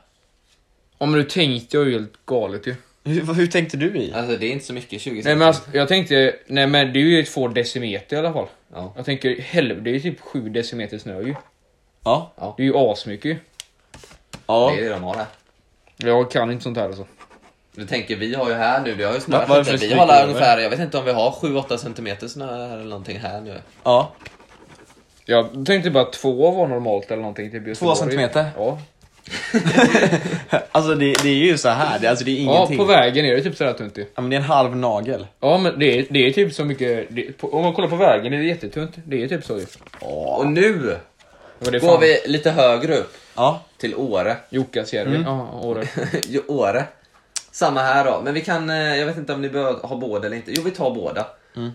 Speaker 2: Ja men du tänkte jag ju helt galet ju.
Speaker 1: Hur, hur tänkte du i?
Speaker 3: Alltså det är inte så mycket, 20
Speaker 2: Nej men alltså, jag tänkte, nej men det är ju två decimeter i alla fall.
Speaker 3: Ja.
Speaker 2: Jag tänker helvete, det är ju typ 7 decimeter snö ju.
Speaker 1: Ja.
Speaker 2: Det är ju asmycket ju.
Speaker 1: ja.
Speaker 3: Det är det de har här.
Speaker 2: Jag kan inte sånt här alltså.
Speaker 3: Du tänker, vi har ju här nu, vi har ju snö.
Speaker 1: Va- vad är det för
Speaker 3: vi
Speaker 1: stryk
Speaker 3: har
Speaker 1: över?
Speaker 3: alla ungefär, jag vet inte om vi har 7-8 centimeter snö här eller någonting här nu.
Speaker 1: ja.
Speaker 2: Jag tänkte bara att två var normalt eller någonting. Typ i Göteborg.
Speaker 1: centimeter?
Speaker 2: Ja.
Speaker 1: Alltså det, det är ju så här. Det, alltså, det är
Speaker 2: ja,
Speaker 1: ingenting.
Speaker 2: på vägen är det typ sådär tunt ju.
Speaker 1: Ja men det är en halv nagel.
Speaker 2: Ja men det är, det är typ så mycket, det, på, om man kollar på vägen är det jättetunt. Det är typ så ju.
Speaker 3: Och nu
Speaker 2: Det var det
Speaker 3: går
Speaker 2: fan-
Speaker 3: vi lite högre upp
Speaker 1: Ja.
Speaker 3: till Åre.
Speaker 2: Jukkasjärvi. Ja, Åre.
Speaker 3: Jo, Åre. Samma här då, men vi kan, eh, jag vet inte om ni behöver ha båda eller inte. Jo, vi tar båda.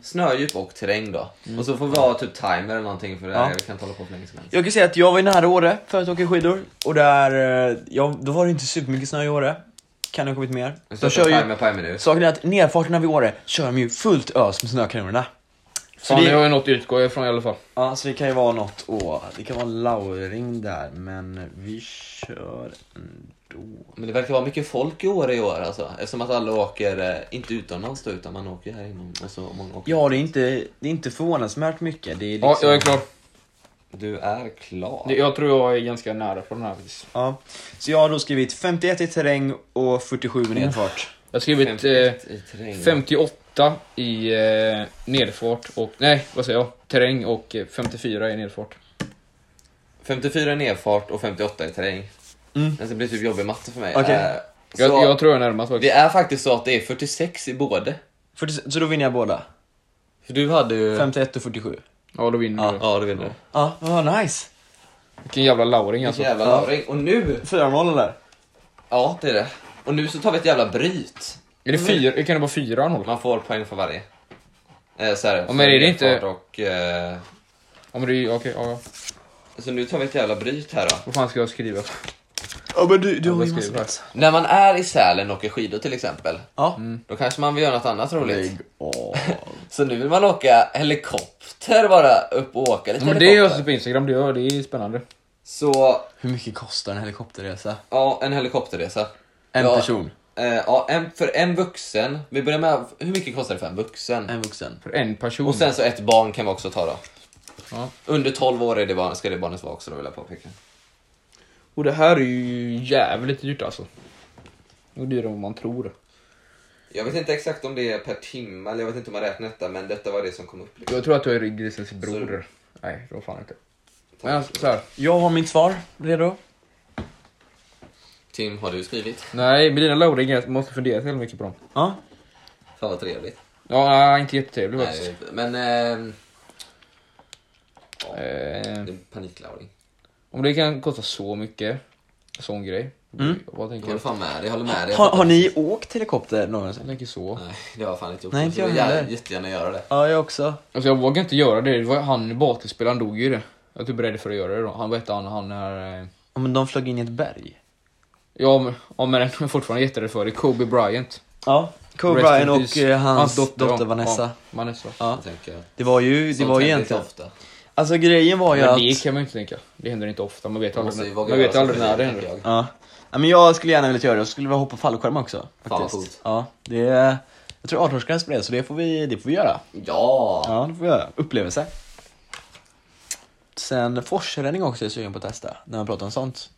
Speaker 3: Snödjup och terräng då. Och så får vi ha typ timer eller någonting för det här,
Speaker 1: Ja.
Speaker 3: vi kan inte hålla på för länge som helst.
Speaker 1: Jag kan säga att jag var ju nära Åre för att åka skidor och där, eh, ja, då var det inte supermycket snö i Åre. Kan det ha kommit mer?
Speaker 3: Vi
Speaker 1: De
Speaker 3: sätter
Speaker 1: kör
Speaker 3: timer
Speaker 1: ju,
Speaker 3: på en minut.
Speaker 1: saken är att nedfarterna vid Åre kör de ju fullt ös med snökanonerna. Så
Speaker 2: Fan,
Speaker 1: det-
Speaker 2: det har ju något att utgå ifrån i alla fall.
Speaker 1: Ja, så det kan ju vara något åh, det kan vara en lauring där, men vi kör ändå.
Speaker 3: Men det verkar vara mycket folk i år i år alltså. Eftersom att alla åker, eh, inte utomlands då, utan man åker här inom. Och så många åker.
Speaker 1: Ja, det är inte, det är inte förvånansvärt mycket. Det är liksom,
Speaker 2: Ja, jag är klar.
Speaker 3: Du är klar.
Speaker 2: Det- Jag tror jag är ganska nära på den här. faktiskt.
Speaker 1: Ja. Så jag har då skrivit 51 i terräng och 47 i nedfart.
Speaker 2: Jag har skrivit... Eh,
Speaker 3: 51 i terräng.
Speaker 2: 58 i eh, nedfart och, nej vad säger jag, terräng och eh, 54 i nedfart.
Speaker 3: 54 i nedfart och 58 i terräng.
Speaker 1: Mm.
Speaker 3: Men det blir typ jobbig matte för mig.
Speaker 1: Okej.
Speaker 3: Eh,
Speaker 2: Jag,
Speaker 3: Så-
Speaker 2: jag tror jag är närmast
Speaker 3: Det
Speaker 2: faktiskt.
Speaker 3: är faktiskt så att det är 46 i både.
Speaker 1: 40, så då vinner jag båda?
Speaker 3: För du hade ju...
Speaker 1: 51 och 47?
Speaker 2: Ja, då vinner du.
Speaker 3: Ja, det vinner du.
Speaker 1: Ja, vad nice!
Speaker 2: Vilken jävla lauring alltså.
Speaker 3: Jävla
Speaker 1: Ja.
Speaker 3: lauring. Och nu...
Speaker 1: 4-0 där.
Speaker 3: Ja, det är det. Och nu så tar vi ett jävla bryt.
Speaker 2: Är det fyra? Kan det vara fyra noll?
Speaker 3: Man får poäng för varje. Eh, så här,
Speaker 2: Ja, men är det
Speaker 3: fart
Speaker 2: inte-
Speaker 3: Och, eh,
Speaker 2: Ja, men det är ju- okej, ja, ja.
Speaker 3: så nu tar vi ett jävla bryt här då.
Speaker 2: Vad fan ska jag skriva?
Speaker 1: Ja men du, du har
Speaker 2: vad
Speaker 1: ju
Speaker 2: ska vi göra?
Speaker 1: massa
Speaker 3: När man är i Sälen och åker skidor till exempel,
Speaker 1: Ja.
Speaker 3: då kanske man vill göra något annat roligt.
Speaker 1: Mm. Lägg av.
Speaker 3: Så nu vill man åka helikopter bara upp och åka
Speaker 2: Ja,
Speaker 3: lite
Speaker 2: men det är
Speaker 3: helikopter.
Speaker 2: jag på Instagram, det gör det är spännande.
Speaker 3: Så,
Speaker 1: Hur mycket kostar en helikopterresa?
Speaker 3: ja, en helikopterresa.
Speaker 1: En
Speaker 3: ja,
Speaker 1: person,
Speaker 3: Eh, ja, en, för en vuxen. Vi börjar med, hur mycket kostar det för en vuxen?
Speaker 1: en vuxen.
Speaker 2: För en person.
Speaker 3: Och sen så ett barn kan vi också ta då.
Speaker 2: Ja.
Speaker 3: Under 12 år är det barn, ska det barnet vara också då vill jag påpeka.
Speaker 2: Och det här är ju jävligt dyrt alltså. Det är dyrare än vad man tror.
Speaker 3: Jag vet inte exakt om det är per timme, eller jag vet inte om man räknar detta, men detta var det som kom upp.
Speaker 2: Jag tror att du är grisens bror. Nej, det var fan inte. Men alltså, så här.
Speaker 1: Jag har mitt svar redo.
Speaker 3: Tim, har du skrivit?
Speaker 2: Nej, med dina lauringar jag måste fundera så jävla mycket på dem.
Speaker 1: Ja.
Speaker 3: Fan vad trevligt.
Speaker 2: Ja, nej, inte jättetrevlig
Speaker 1: Mm.
Speaker 2: faktiskt.
Speaker 3: Nej, men... Eh,
Speaker 2: Eh,
Speaker 3: det är paniklauring.
Speaker 2: om det kan kosta så mycket, sån grej.
Speaker 1: Mm.
Speaker 2: Vad
Speaker 3: Jag
Speaker 2: tänker
Speaker 3: håller
Speaker 2: jag?
Speaker 3: fan med dig, jag håller med dig.
Speaker 1: Har, har ni åkt helikopter någonsin?
Speaker 2: Jag tänker så.
Speaker 3: Nej, det har jag fan inte gjort.
Speaker 1: Nej,
Speaker 3: Jag
Speaker 1: inte
Speaker 3: skulle
Speaker 1: jag
Speaker 3: gärna-
Speaker 1: heller.
Speaker 3: jättegärna göra det.
Speaker 1: Ja, jag också.
Speaker 2: Alltså jag vågar inte göra det. det var, han basketspelaren dog ju i det. Jag är typ rädd för att göra det då. Han, vad hette han, han är... Eh,
Speaker 1: Ja, men de flög in i ett berg.
Speaker 2: ja, men, ja, men jag är fortfarande jätterädd för det. Kobe Bryant.
Speaker 1: Ja, Kobe
Speaker 2: Rest in
Speaker 1: Bryant och
Speaker 2: peace.
Speaker 1: eh, hans, dotter,
Speaker 2: ja.
Speaker 1: Vanessa.
Speaker 2: Ja, Vanessa.
Speaker 1: Ja.
Speaker 3: Jag tänker.
Speaker 1: Det var ju, det
Speaker 3: Sånt
Speaker 1: var ju
Speaker 3: händer
Speaker 1: egentligen...
Speaker 3: inte ofta.
Speaker 1: Alltså grejen var ju
Speaker 2: Men
Speaker 1: att...
Speaker 2: det kan man ju inte tänka. Det händer inte ofta. Man vet
Speaker 3: Man måste ju
Speaker 2: aldrig,
Speaker 3: våga
Speaker 2: man vet
Speaker 3: göra
Speaker 2: aldrig
Speaker 3: saker,
Speaker 2: när det
Speaker 3: tänker
Speaker 2: händer.
Speaker 3: jag.
Speaker 1: Ja. ja. men jag skulle gärna vilja göra det, jag skulle vilja hoppa fallskärm också.
Speaker 3: vad
Speaker 1: Faktiskt.
Speaker 3: coolt.
Speaker 1: Ja, det är... Jag tror 18-årsgräns på det, så det får vi, det får vi göra.
Speaker 3: Ja!
Speaker 1: Ja, det får vi göra. Upplevelse. Sen forsränning också är jag sugen på att testa, när man pratar om sånt.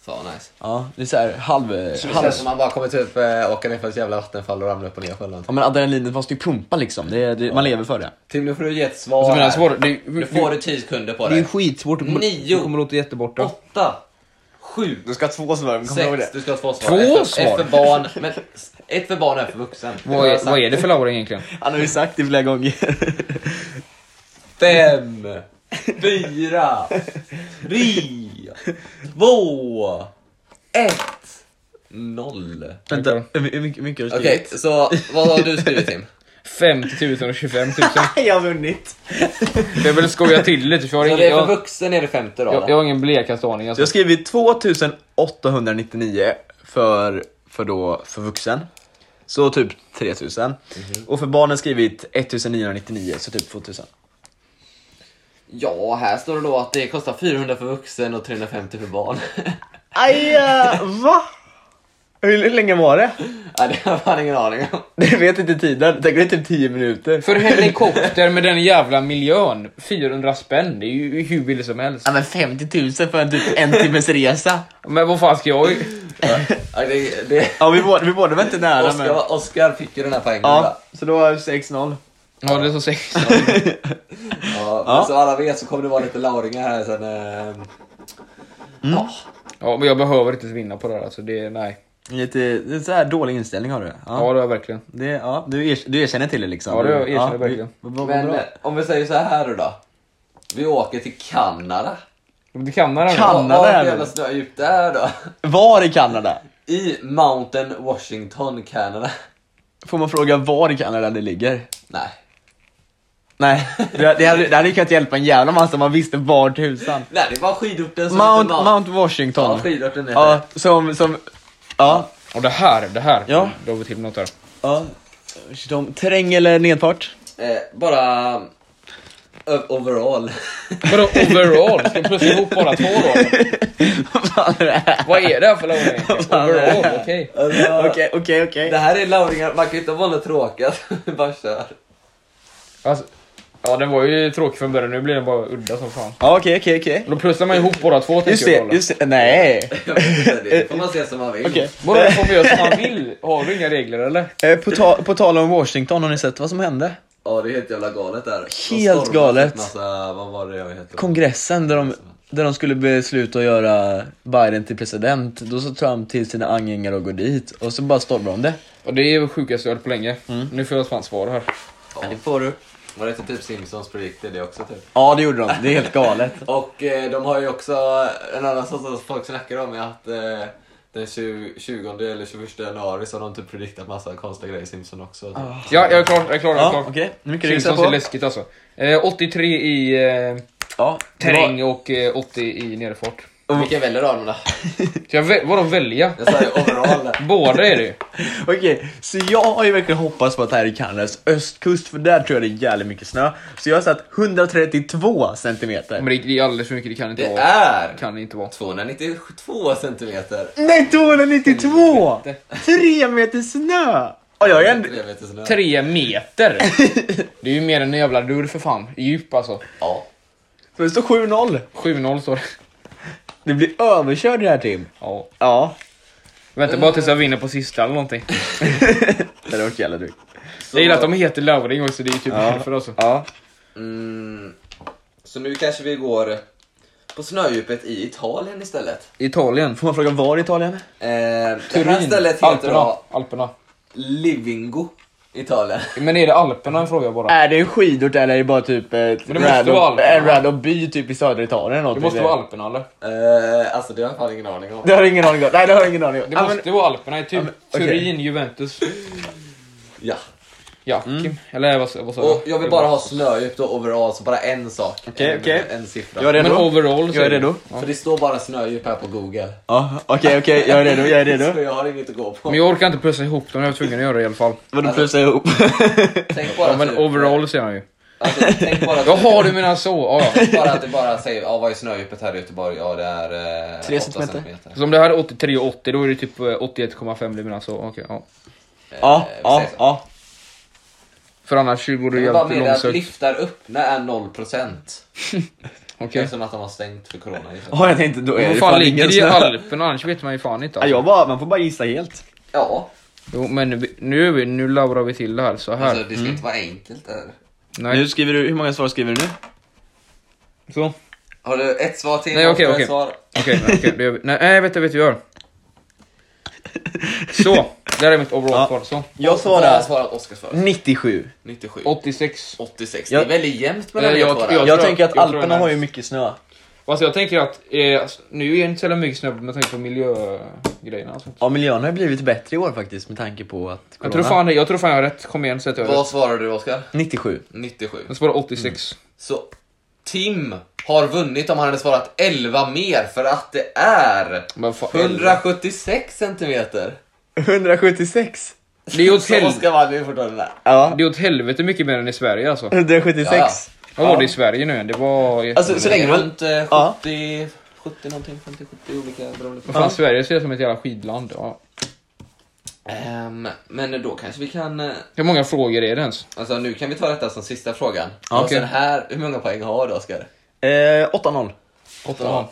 Speaker 3: Fan nice.
Speaker 1: Ja, det är såhär halv...
Speaker 3: Det
Speaker 1: halv...
Speaker 3: känns som man bara kommer typ eh, åka ner för ett jävla vattenfall och ramla upp och ner själv.
Speaker 1: Ja men adrenalinet måste ju pumpa liksom, det, det, man lever för det.
Speaker 3: Tim, nu får du ge ett svar
Speaker 2: Alltså, men
Speaker 3: här.
Speaker 2: alltså, vad- det-
Speaker 3: Nu får du 10 sekunder
Speaker 1: Det
Speaker 3: på
Speaker 1: är ju
Speaker 3: dig.
Speaker 1: skitsvårt att komma...
Speaker 3: Nio,
Speaker 2: Du kommer låta jätteborta.
Speaker 3: 8, 7,
Speaker 1: Du ska ha två smör, kommer du ihåg
Speaker 3: 6.
Speaker 1: det?
Speaker 3: Du ska ha två svar.
Speaker 2: Två
Speaker 3: ett, för,
Speaker 2: svar?
Speaker 3: Ett för barn, men ett för barn och ett för vuxen.
Speaker 2: Vad är, vad är det för lauring egentligen?
Speaker 1: Han har ju sagt det flera gånger.
Speaker 3: 5, 4, 3, 2, 1, 0.
Speaker 1: Vänta, hur my- hur mycket, hur mycket har du
Speaker 3: Okej,
Speaker 1: skrivit?
Speaker 3: så vad har du skrivit Tim?
Speaker 2: 50 000 och 25 000.
Speaker 1: Jag har vunnit!
Speaker 2: Jag vill skoja till lite för jag har
Speaker 3: Så
Speaker 2: ingen,
Speaker 3: det är för
Speaker 2: jag,
Speaker 3: vuxen är det femte då?
Speaker 2: jag,
Speaker 3: då?
Speaker 2: jag har ingen blekaste aning.
Speaker 1: Jag har
Speaker 2: Alltså.
Speaker 1: skrivit 2899 för, för, då, för vuxen. Så typ 3000. Och för barnen skrivit 1999, så typ 2000.
Speaker 3: Ja, här står det då att det kostar 400 för vuxen och 350 för barn.
Speaker 1: Aj, va? Hur, hur länge var det?
Speaker 3: Nej, det har jag fan ingen aning om.
Speaker 1: Det vet inte tiden, det är typ 10 minuter.
Speaker 2: För helikopter med den jävla miljön. 400 spänn, det är ju hur billigt som helst.
Speaker 1: Ja men 50 000 för en typ en timmes resa.
Speaker 2: Men vad fan ska jag...
Speaker 3: Ja, det, det,
Speaker 1: Ja vi båda, vi båda var inte nära men...
Speaker 3: Oscar, Oscar fick ju den här poängen.
Speaker 1: Ja,
Speaker 3: Ja.
Speaker 1: så då var det 6-0.
Speaker 2: Ja, det är så sex.
Speaker 3: Ja, men
Speaker 1: Ja.
Speaker 3: Som alla vet så kommer det vara lite lauringar här sen. ehm.
Speaker 1: Mm.
Speaker 3: Ja.
Speaker 2: Ja, men jag behöver inte vinna på det här. Alltså, det, nej.
Speaker 1: Lite, det är så här dålig inställning har du.
Speaker 2: Ja, det har jag verkligen.
Speaker 1: Det, ja, du, er, du erkänner till det liksom?
Speaker 2: Ja, det
Speaker 1: Du-
Speaker 2: erkänner jag verkligen.
Speaker 1: du- vad- vad
Speaker 3: Men
Speaker 1: bra.
Speaker 3: eh, om vi säger så här nu då. Vi åker till Kanada.
Speaker 2: Det kan man
Speaker 1: Kan- Kanada
Speaker 3: Vad
Speaker 1: är
Speaker 3: är
Speaker 1: det?
Speaker 3: det jävla snödjup det är då?
Speaker 1: Var i Kanada?
Speaker 3: I Mountain Washington, Kanada.
Speaker 1: Får man fråga var i Kanada det ligger?
Speaker 3: Nej.
Speaker 1: Nej, det, det, hade, det hade ju kunnat hjälpa en jävla massa om man visste var tusan.
Speaker 3: Nej, det var skidorten som
Speaker 1: Mount,
Speaker 3: heter
Speaker 1: Mount
Speaker 3: Alltså, Ja,
Speaker 1: Washington.
Speaker 3: skidorten heter
Speaker 1: Ja, som, som, ja.
Speaker 2: Och det här, det här.
Speaker 1: Ja.
Speaker 2: Då har vi till något här.
Speaker 1: ja. De, terräng eller nedfart?
Speaker 3: det. Eh, bara... ö- Overall.
Speaker 2: Vadå overall? Ska jag plussa ihop båda två då?
Speaker 1: Vad fan är det här?
Speaker 2: Vad är det här för lauring egentligen? Overall, okej.
Speaker 3: Alltså,
Speaker 1: Okej, okej,
Speaker 3: Det
Speaker 1: okej.
Speaker 3: här är lauringar, man kan inte vara något tråkigt. bara kör.
Speaker 2: Alltså, ja, den var ju tråkig från början. Nu blir den bara udda som fan.
Speaker 1: Ja, Okej, okej, okej.
Speaker 2: Då plussar man ihop båda två
Speaker 1: Just
Speaker 2: tänker jag.
Speaker 1: det,
Speaker 2: Kalle.
Speaker 1: just det. Nej.
Speaker 3: Jag vet inte, det får man se som man vill.
Speaker 1: Okej.
Speaker 2: Vadå, då får man göra som man vill? Har du inga regler eller?
Speaker 1: Eh, På, ta, på tal om Washington, har ni sett vad som hände?
Speaker 3: Ja, det är helt jävla galet där. De
Speaker 1: Helt
Speaker 3: stormar
Speaker 1: galet.
Speaker 3: typ Massa, vad var det jag hette?
Speaker 1: Kongressen där de, Där de skulle besluta att göra Biden till president, då sa Trump till sina anhängare att gå dit och så bara stormade de det.
Speaker 2: Och det är det sjukaste jag hört på länge.
Speaker 1: Mm.
Speaker 2: Nu får jag fan svar här.
Speaker 1: Ja, det får du.
Speaker 3: Var det inte typ Simpsons predikter det också typ?
Speaker 1: Ja, det gjorde de. Det är helt galet.
Speaker 3: Och eh, de har ju också, en annan sak som folk snackar om är att eh, den 20, 20 eller 21 januari så har de typ prediktat massa konstiga grejer i Simpson också.
Speaker 1: Ah.
Speaker 2: Ja, jag är klar. Jag är klar. Jag är
Speaker 1: Ja,
Speaker 2: klar.
Speaker 1: okej. Nu mycket du gissa
Speaker 2: Simpsons
Speaker 1: på.
Speaker 2: är läskigt alltså. Eh, 83 i eh,
Speaker 1: Ja, det var-
Speaker 2: terräng och eh, 80 i nederfart.
Speaker 3: Vilken väljer du Arman då?
Speaker 2: Så jag vä- vadå välja?
Speaker 3: Jag sa ju overall där.
Speaker 2: Båda är det ju.
Speaker 1: Okej, så jag har ju verkligen hoppats på att det här är Kanadas östkust, för där tror jag det är jävligt mycket snö. Så jag har satt 132
Speaker 2: Men
Speaker 1: centimeter.
Speaker 2: det, det är alldeles för mycket. Det kan inte
Speaker 3: Det
Speaker 2: vara.
Speaker 3: är
Speaker 2: Kan det inte vara.
Speaker 3: 292 centimeter.
Speaker 1: Nej, 292! Tre meter snö! Och jag är ändå...
Speaker 3: Tre meter snö.
Speaker 2: Tre meter! Det är ju mer än en jävla dörr för fan. I Djup alltså.
Speaker 3: Ja.
Speaker 1: Så det står 7-0.
Speaker 2: 7-0 står det.
Speaker 1: Det blir överkörd det här Tim.
Speaker 2: Ja.
Speaker 1: Ja,
Speaker 2: Vänta bara tills jag vinner på sista eller någonting.
Speaker 1: det hade varit jävla drygt.
Speaker 2: Jag gillar att de heter Lauring också, det är ju typ därför alltså.
Speaker 1: Ja.
Speaker 3: Mm. Så nu kanske vi går på snödjupet i Italien istället.
Speaker 2: Italien.
Speaker 1: Får man fråga var i Italien?
Speaker 3: Eh, det här
Speaker 2: Turin.
Speaker 3: stället heter
Speaker 2: Alperna.
Speaker 3: då
Speaker 2: Alperna.
Speaker 3: Livingo, Italien.
Speaker 2: Men är det Alperna frågar jag bara?
Speaker 1: Är det en skidort eller är det bara typ ett
Speaker 2: Men det måste vara
Speaker 1: random,
Speaker 2: Alperna.
Speaker 1: en random by typ i södra Italien? eller
Speaker 2: Det
Speaker 1: någonting?
Speaker 2: måste vara Alperna eller?
Speaker 3: Eh, alltså det har jag fan ingen aning om.
Speaker 1: Det har jag ingen aning om. Nej, det har jag ingen aning om.
Speaker 2: Det
Speaker 1: Ja,
Speaker 2: måste
Speaker 1: men-
Speaker 2: vara Alperna, det är typ
Speaker 1: men, okej.
Speaker 2: Turin, Juventus,
Speaker 3: Ja.
Speaker 2: ja,
Speaker 1: Mm.
Speaker 2: Kim. Eller vad, vad sa
Speaker 3: Och jag vill bara ha snödjup då overall, så bara en sak.
Speaker 1: Okej,
Speaker 3: en,
Speaker 1: okej.
Speaker 3: en siffra.
Speaker 1: Jag är
Speaker 2: Men
Speaker 1: redo.
Speaker 2: overall så
Speaker 1: Jag är
Speaker 2: det-
Speaker 1: redo.
Speaker 3: För det står bara snödjup här på google.
Speaker 1: Ja, okej, okej, jag är redo, jag är
Speaker 3: Så
Speaker 1: redo.
Speaker 3: jag har inget att gå på.
Speaker 2: Men jag orkar inte plussa ihop dem, jag var tvungen att göra det i alla fall.
Speaker 1: Vadå plussa ihop?
Speaker 3: Tänk bara
Speaker 2: Ja, men
Speaker 3: typ-
Speaker 2: overall säger han ju.
Speaker 3: Alltså, tänk bara,
Speaker 2: Jaha, du menar så? Ja, ja.
Speaker 3: tänk bara att det bara säger, ja vad är snödjupet här i Göteborg? Ja det är eh,
Speaker 1: Tre
Speaker 3: åtta
Speaker 1: centimeter.
Speaker 2: Så om det här är 83 och 80 då är det typ eh, 81,5 du menar så? Okej, ja.
Speaker 1: Ja,
Speaker 3: Eh,
Speaker 1: ja,
Speaker 3: precis.
Speaker 1: ja.
Speaker 2: För annars vore det
Speaker 3: Jag vill bara med
Speaker 2: jävligt
Speaker 3: det att
Speaker 2: långsökt.
Speaker 3: lyftar öppna är 0%.
Speaker 2: Okej.
Speaker 3: Eftersom att de har stängt för corona.
Speaker 1: Ja, jag tänkte då är
Speaker 2: Vad
Speaker 1: det
Speaker 2: fan
Speaker 1: fan
Speaker 2: ligger
Speaker 1: ingen
Speaker 2: det i
Speaker 1: snö.
Speaker 2: Alperna? Annars vet man ju fan inte.
Speaker 1: Ja,
Speaker 2: Alltså.
Speaker 1: jag bara, man får bara gissa helt.
Speaker 3: Ja,
Speaker 2: Jo, men nu, nu, är vi- nu labrar vi till det här så här.
Speaker 3: alltså det ska inte vara enkelt där.
Speaker 2: Nej,
Speaker 1: skriver du, hur många svar skriver du nu?
Speaker 2: så.
Speaker 3: Har du ett svar till?
Speaker 2: Nej,
Speaker 3: Har
Speaker 2: okej,
Speaker 3: du ett
Speaker 2: okej.
Speaker 3: svar?
Speaker 2: Okej, okay, det gör vi. Nej, nej, vet jag vet jag gör. Så, där är mitt overall-svar. Så.
Speaker 1: Jag
Speaker 3: Jag har
Speaker 1: svarar
Speaker 3: svarat Oskars
Speaker 2: Mm.
Speaker 3: svar.
Speaker 1: 97.
Speaker 3: 97.
Speaker 2: 86.
Speaker 3: 86.
Speaker 1: Jag-
Speaker 3: Det är väldigt jämnt mellan
Speaker 2: Eh,
Speaker 3: er
Speaker 2: jag-
Speaker 3: två
Speaker 2: jag-
Speaker 3: där.
Speaker 1: Jag
Speaker 2: tror-
Speaker 1: tänker att
Speaker 2: jag tror
Speaker 1: Alperna
Speaker 2: den
Speaker 1: har
Speaker 2: är-
Speaker 1: ju mycket snö.
Speaker 2: Alltså jag tänker att, eh, alltså, nu är det inte så jävla mycket snö med tanke på miljögrejerna. Alltså.
Speaker 1: Ja, miljön har ju blivit bättre i år faktiskt med tanke på att
Speaker 2: Jag, tror fan, det- jag tror fan jag har rätt. Kom igen, säg att jag har
Speaker 3: Vad
Speaker 2: rätt.
Speaker 3: svarar du Oskar?
Speaker 1: 97.
Speaker 3: 97.
Speaker 2: Jag svarar 86.
Speaker 3: Så Tim har vunnit om han hade svarat 11 mer för att det är
Speaker 1: Mm.
Speaker 2: Men fan,
Speaker 3: 176 centimeter.
Speaker 1: 176?
Speaker 2: Det är ju åt
Speaker 3: Så
Speaker 2: helvete.
Speaker 3: Oskar vann ju fortfarande där.
Speaker 1: Ja.
Speaker 2: Det är åt helvete mycket mer än i Sverige alltså.
Speaker 1: 176.
Speaker 3: Ja,
Speaker 2: Vad var det i Sverige nu igen? Det var...
Speaker 1: Alltså, så
Speaker 3: Det
Speaker 1: länge
Speaker 3: är
Speaker 1: man-
Speaker 3: runt eh,
Speaker 1: Ja.
Speaker 3: 70, 70 någonting, 50, 70 olika beroende på.
Speaker 2: Vad fan, Sverige ser ut som ett jävla skidland. Ja.
Speaker 3: Ehm, men då kanske vi kan... eh,
Speaker 2: Hur många frågor är det ens?
Speaker 3: Alltså nu kan vi ta detta som sista frågan.
Speaker 1: Ja,
Speaker 3: Och
Speaker 1: okej.
Speaker 3: sen här, hur många poäng har du Oskar?
Speaker 1: Eh, 8-0.
Speaker 2: Åtta.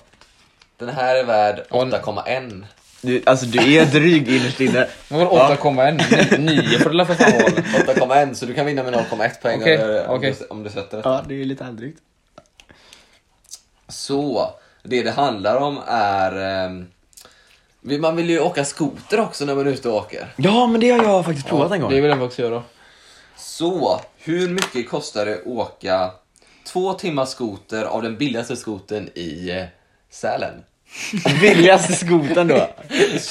Speaker 3: Den här är värd
Speaker 2: Ja,
Speaker 3: 8,1.
Speaker 1: Du, alltså du är dryg innerst inne.
Speaker 2: Det var väl 8,1? 9 får det väl för fan vara. eller?
Speaker 3: 8,1 så du kan vinna med 0,1 poäng
Speaker 2: Okej,
Speaker 3: om, du, om,
Speaker 2: okej.
Speaker 3: du, om du sätter det.
Speaker 1: Ja, det är lite halvdrygt.
Speaker 3: Så, det det handlar om är... ehm, vill- man vill ju åka skoter också när man är ute och åker.
Speaker 1: Ja, men det har jag faktiskt provat en gång.
Speaker 2: Det vill jag faktiskt göra.
Speaker 3: Så, hur mycket kostar det att åka två timmar skoter av den billigaste skoten i eh, Sälen?
Speaker 1: Billigaste skoten då.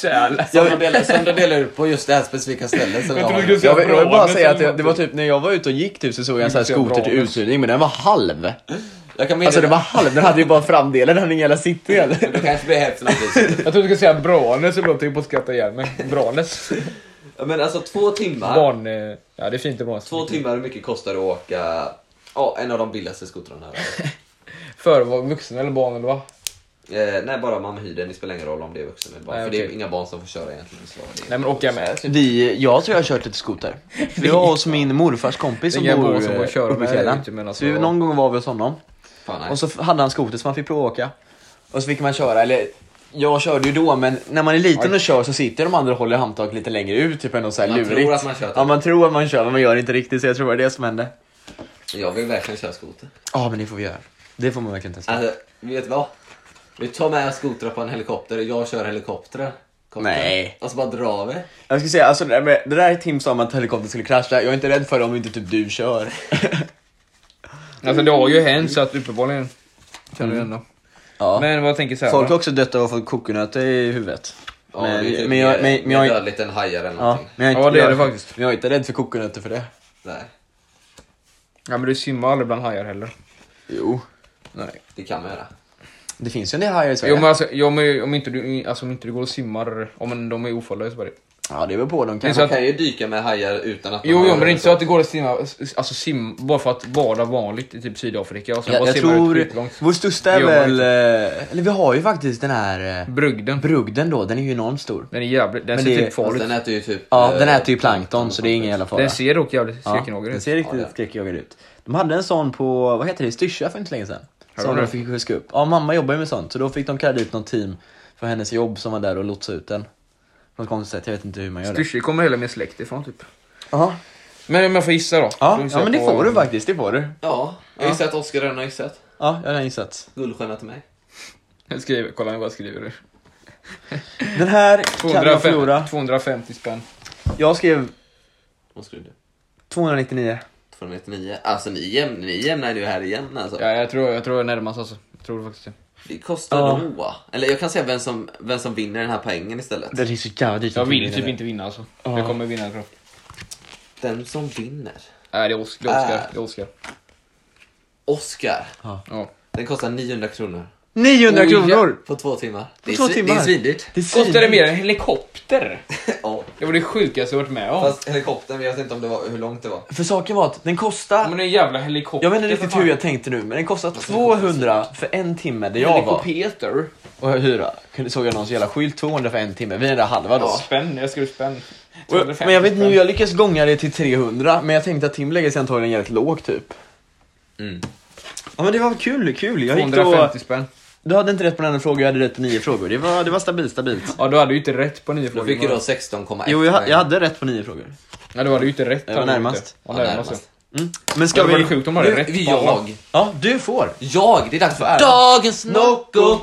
Speaker 2: Kärl.
Speaker 3: Som de delar, som de delar ut på just det här specifika stället. Som jag
Speaker 2: trodde
Speaker 3: har.
Speaker 2: du skulle
Speaker 1: Jag vill, jag vill bara
Speaker 2: Bra,
Speaker 1: säga att
Speaker 2: men
Speaker 1: jag, det var typ när jag var ute och gick typ så såg jag en sån här
Speaker 2: Vilken
Speaker 1: skoter till
Speaker 2: bra.
Speaker 1: uthyrning men den var halv.
Speaker 3: Jag kan
Speaker 1: Alltså
Speaker 3: meddela-
Speaker 1: den var halv, den hade ju bara framdelen, den hade ingen jävla sittdel.
Speaker 3: Då kanske blir hälften av priset.
Speaker 2: Jag trodde du skulle säga Branes eller någonting på att skratta ihjäl mig. Branes.
Speaker 3: Ja, Men alltså två timmar.
Speaker 2: Barn... eh, Ja, det är fint i Branes.
Speaker 3: Två timmar hur mycket kostar det att åka ja, en av de billigaste skotrarna här.
Speaker 2: För var vuxen eller barn eller vad?
Speaker 3: Eh, nej, bara man hyr den. Det spelar ingen roll om det är vuxen eller barn.
Speaker 2: Nej,
Speaker 3: för det är
Speaker 2: okej.
Speaker 3: inga barn som får köra egentligen. Så det är-
Speaker 2: Nej men åker jag med.
Speaker 1: Vi, jag tror jag har kört lite skoter. Vi var hos min morfars kompis som
Speaker 2: Det är ingen
Speaker 1: bor
Speaker 2: bra som får
Speaker 1: eh,
Speaker 2: köra
Speaker 1: uppe i
Speaker 2: med,
Speaker 1: fjällen.
Speaker 2: inte, men alltså-
Speaker 1: Så vi, någon gång var vi hos honom
Speaker 3: Fan, nej.
Speaker 1: och så f- hade han skoter som man fick prova åka. Och så fick man köra, eller jag körde ju då men när man är liten och kör så sitter de andra och håller handtaget lite längre ut, typ ändå såhär
Speaker 3: Man
Speaker 1: lurigt.
Speaker 3: tror att man kör, typ.
Speaker 1: Ja man tror att man kör men man gör inte riktigt så jag tror det var det som hände.
Speaker 3: Jag vill verkligen köra skoter.
Speaker 1: Ja men det får vi göra. Det får man verkligen testa.
Speaker 3: Alltså, vet du vad? Vi tar med skotrar på en helikopter och jag kör helikoptern. Kopter.
Speaker 1: Nej.
Speaker 3: Och så bara drar vi.
Speaker 1: Jag skulle säga, alltså det där, med, det där är Tim sa om att helikoptern skulle krascha. Jag är inte rädd för det om inte typ du kör.
Speaker 2: Alltså det har ju hänt så att uppenbarligen kan det hända.
Speaker 1: Ja.
Speaker 2: Men vad tänker Säva?
Speaker 1: Folk har också dött av att få kokosnötter i huvudet.
Speaker 3: Ja,
Speaker 1: men,
Speaker 3: det är typ
Speaker 1: men jag,
Speaker 3: mer-
Speaker 1: men, men
Speaker 3: mer
Speaker 1: jag, ja,
Speaker 3: dödligt än hajar eller
Speaker 1: men
Speaker 3: någonting.
Speaker 1: jag,
Speaker 2: Ja, det är
Speaker 1: jag-
Speaker 2: det faktiskt.
Speaker 1: Men jag är inte rädd för kokosnötter för det.
Speaker 3: Nej,
Speaker 2: Ja men du simmar aldrig bland hajar heller.
Speaker 1: Jo.
Speaker 2: Nej.
Speaker 3: det kan man göra.
Speaker 1: Det finns ju en del hajar i Sverige.
Speaker 2: Jo men alltså, jo, men om, inte du, alltså, om inte du går och simmar, om de är ofarliga så bara det.
Speaker 1: Ja, det är väl på dem
Speaker 2: Men
Speaker 1: kanske.
Speaker 2: så
Speaker 3: Man
Speaker 2: att-
Speaker 3: kan ju dyka med hajar utan att... de
Speaker 2: Jo,
Speaker 3: har-
Speaker 2: jo men det är inte så att det går att simma, alltså sim, bara för att bada vanligt i typ Sydafrika och sen
Speaker 1: Jag,
Speaker 2: bara
Speaker 1: jag
Speaker 2: simmar ut
Speaker 1: tror,
Speaker 2: skitlångt.
Speaker 1: vår största är
Speaker 2: Det gör man
Speaker 1: väl, eh, eller vi har ju faktiskt den här eh,
Speaker 2: Brugden.
Speaker 1: brugden då, den är ju enormt stor.
Speaker 2: Den är jävligt, den
Speaker 1: Men
Speaker 2: ser
Speaker 1: det-
Speaker 2: typ
Speaker 3: Fast
Speaker 2: farlig ut.
Speaker 3: den äter ju typ...
Speaker 1: Ja,
Speaker 3: eh,
Speaker 1: den äter ju plankton så det är ingen jävla fara.
Speaker 2: Den ser dock jävligt
Speaker 1: Ja,
Speaker 2: skräckinager
Speaker 1: den
Speaker 2: ut.
Speaker 1: ser
Speaker 3: Ja, det är
Speaker 1: riktigt
Speaker 3: den.
Speaker 1: skräckjagad ut. De hade en sån på, vad heter det, i Styrsö för inte länge sedan.
Speaker 2: Har
Speaker 1: Som de
Speaker 2: de det?
Speaker 1: fick huska upp. Ja, mamma jobbar ju med sånt. Så då fick de kalla dit något team för hennes jobb som var där och lotsade ut den. På något konstigt sätt, jag vet inte hur man gör det.
Speaker 2: Styrsö kommer hela min släkt ifrån typ.
Speaker 1: Aha.
Speaker 2: Men om jag får gissa då?
Speaker 1: Ja,
Speaker 2: Då gissar
Speaker 1: ja, men det
Speaker 2: jag på-
Speaker 1: får du faktiskt, det får du.
Speaker 3: Ja, jag har ju sett Oskar Rönn har gissat.
Speaker 1: Ja, jag har redan gissat.
Speaker 3: Guldstjärna till mig.
Speaker 2: Jag skriver, kolla vad jag skriver.
Speaker 1: Den här kan man
Speaker 2: 250,
Speaker 1: förlora.
Speaker 2: 250 spänn.
Speaker 1: Jag skrev
Speaker 3: Vad skulle du?
Speaker 1: 299.
Speaker 3: 299. Alltså ni, jäm, ni jämnar ju här igen alltså.
Speaker 2: Ja, jag tror jag tror jag närmast alltså. Jag tror det faktiskt det.
Speaker 3: Det kostar
Speaker 1: Ja.
Speaker 3: nog. Eller jag kan säga vem som, vem som vinner den här poängen istället.
Speaker 1: Den är så jävla dyrt.
Speaker 2: Jag vill typ inte vinna alltså. Jag kommer vinna tror jag.
Speaker 3: Den som vinner.
Speaker 2: Nej, det är Oskar. Det är Oskar.
Speaker 3: Äh.
Speaker 2: Det är Oskar.
Speaker 3: Oscar.
Speaker 2: Ja.
Speaker 3: Den kostar 900 kronor.
Speaker 1: 900
Speaker 2: Oj, ja.
Speaker 1: kronor!
Speaker 3: På två timmar.
Speaker 1: På
Speaker 3: är
Speaker 1: två
Speaker 3: svi-
Speaker 1: timmar.
Speaker 3: Det är svindyrt.
Speaker 1: Det är
Speaker 2: Kostar det
Speaker 1: svindyrt.
Speaker 2: mer än en helikopter?
Speaker 3: ja.
Speaker 2: Det var det sjukaste jag varit med om.
Speaker 3: Fast helikoptern vet jag inte om det var, hur långt det var.
Speaker 1: För saken var att den kostade
Speaker 2: Men en jävla helikopter.
Speaker 1: Jag vet inte
Speaker 2: för
Speaker 1: riktigt
Speaker 2: fan.
Speaker 1: hur jag tänkte nu, men den kostar 200 för en timme där jag var.
Speaker 2: Helikopter.
Speaker 1: Och hyra. Kunde- Såg jag någons jävla skylt, 200 för en timme. Vi är där halva då.
Speaker 2: Ja. Spänn, jag skrev spänn.
Speaker 1: Och jag,
Speaker 2: 250
Speaker 1: men jag vet inte
Speaker 2: spänn.
Speaker 1: hur jag lyckas gånga det till 300, men jag tänkte att Tim lägger sig antagligen jävligt lågt typ.
Speaker 3: Mm.
Speaker 1: Ja men det var kul, kul. Jag gick då,
Speaker 2: 250 spänn.
Speaker 1: du hade inte rätt på den enda frågan, jag hade rätt på nio frågor. Det var, det var stabilt, stabilt.
Speaker 2: Ja, du hade ju inte rätt på nio
Speaker 3: Då
Speaker 2: frågor.
Speaker 3: fick ju då 16,1
Speaker 1: Jo, jag, ha-
Speaker 3: poäng.
Speaker 1: jag hade rätt på nio frågor.
Speaker 2: Ja, du hade ju inte rätt.
Speaker 1: Jag var
Speaker 2: hade du
Speaker 1: närmast.
Speaker 2: inte.
Speaker 3: Ja,
Speaker 2: Ja, närmast.
Speaker 3: närmast.
Speaker 1: Mm. Men
Speaker 2: Ska
Speaker 1: ska
Speaker 2: vi... Det var
Speaker 1: vi...
Speaker 2: sjukt om du hade
Speaker 3: Nu-
Speaker 2: rätt.
Speaker 3: vi-
Speaker 2: på alla.
Speaker 3: Jag!
Speaker 1: Ja, du får!
Speaker 3: Jag! Det är dags för ära. Dagens Nocco!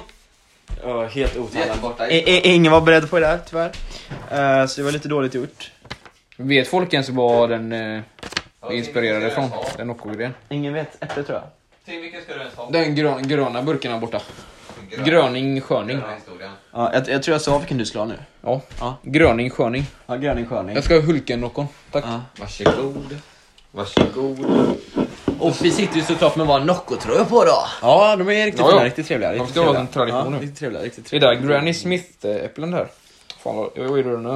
Speaker 1: Ja, helt
Speaker 3: Det är jätteborta.
Speaker 1: I, I, ingen var beredd på det där, tyvärr. Eh, så det var lite dåligt gjort.
Speaker 2: Vet folk ens vad den eh, är inspirerad ifrån? Den Nocco-grejen.
Speaker 1: Ingen vet, äpple tror jag.
Speaker 3: Tänk vilken ska du ens ha?
Speaker 2: Den grön, gröna burken här borta. Gröning Sköning.
Speaker 3: historien.
Speaker 1: Ja, jag, jag tror jag sa vilken du skulle ha nu.
Speaker 2: Ja.
Speaker 1: Ja.
Speaker 2: Gröning Sköning.
Speaker 1: Ja, gröning sköning.
Speaker 2: Jag ska ha Hulken Noccon. Tack.
Speaker 1: Ja.
Speaker 3: Varsågod. Varsågod. Och vi sitter ju såklart med våra Nocco-tröjor på då.
Speaker 1: Ja, de är riktigt
Speaker 2: Ja, ja.
Speaker 1: fina, riktigt trevliga. Riktigt
Speaker 2: förstår vad
Speaker 1: trevliga.
Speaker 2: som tradition
Speaker 1: ja,
Speaker 2: nu.
Speaker 1: Riktigt trevliga, riktigt
Speaker 2: Det är
Speaker 1: trevliga.
Speaker 2: där Granny Smith-äpplen där. Fan vad, jag gjorde den nu.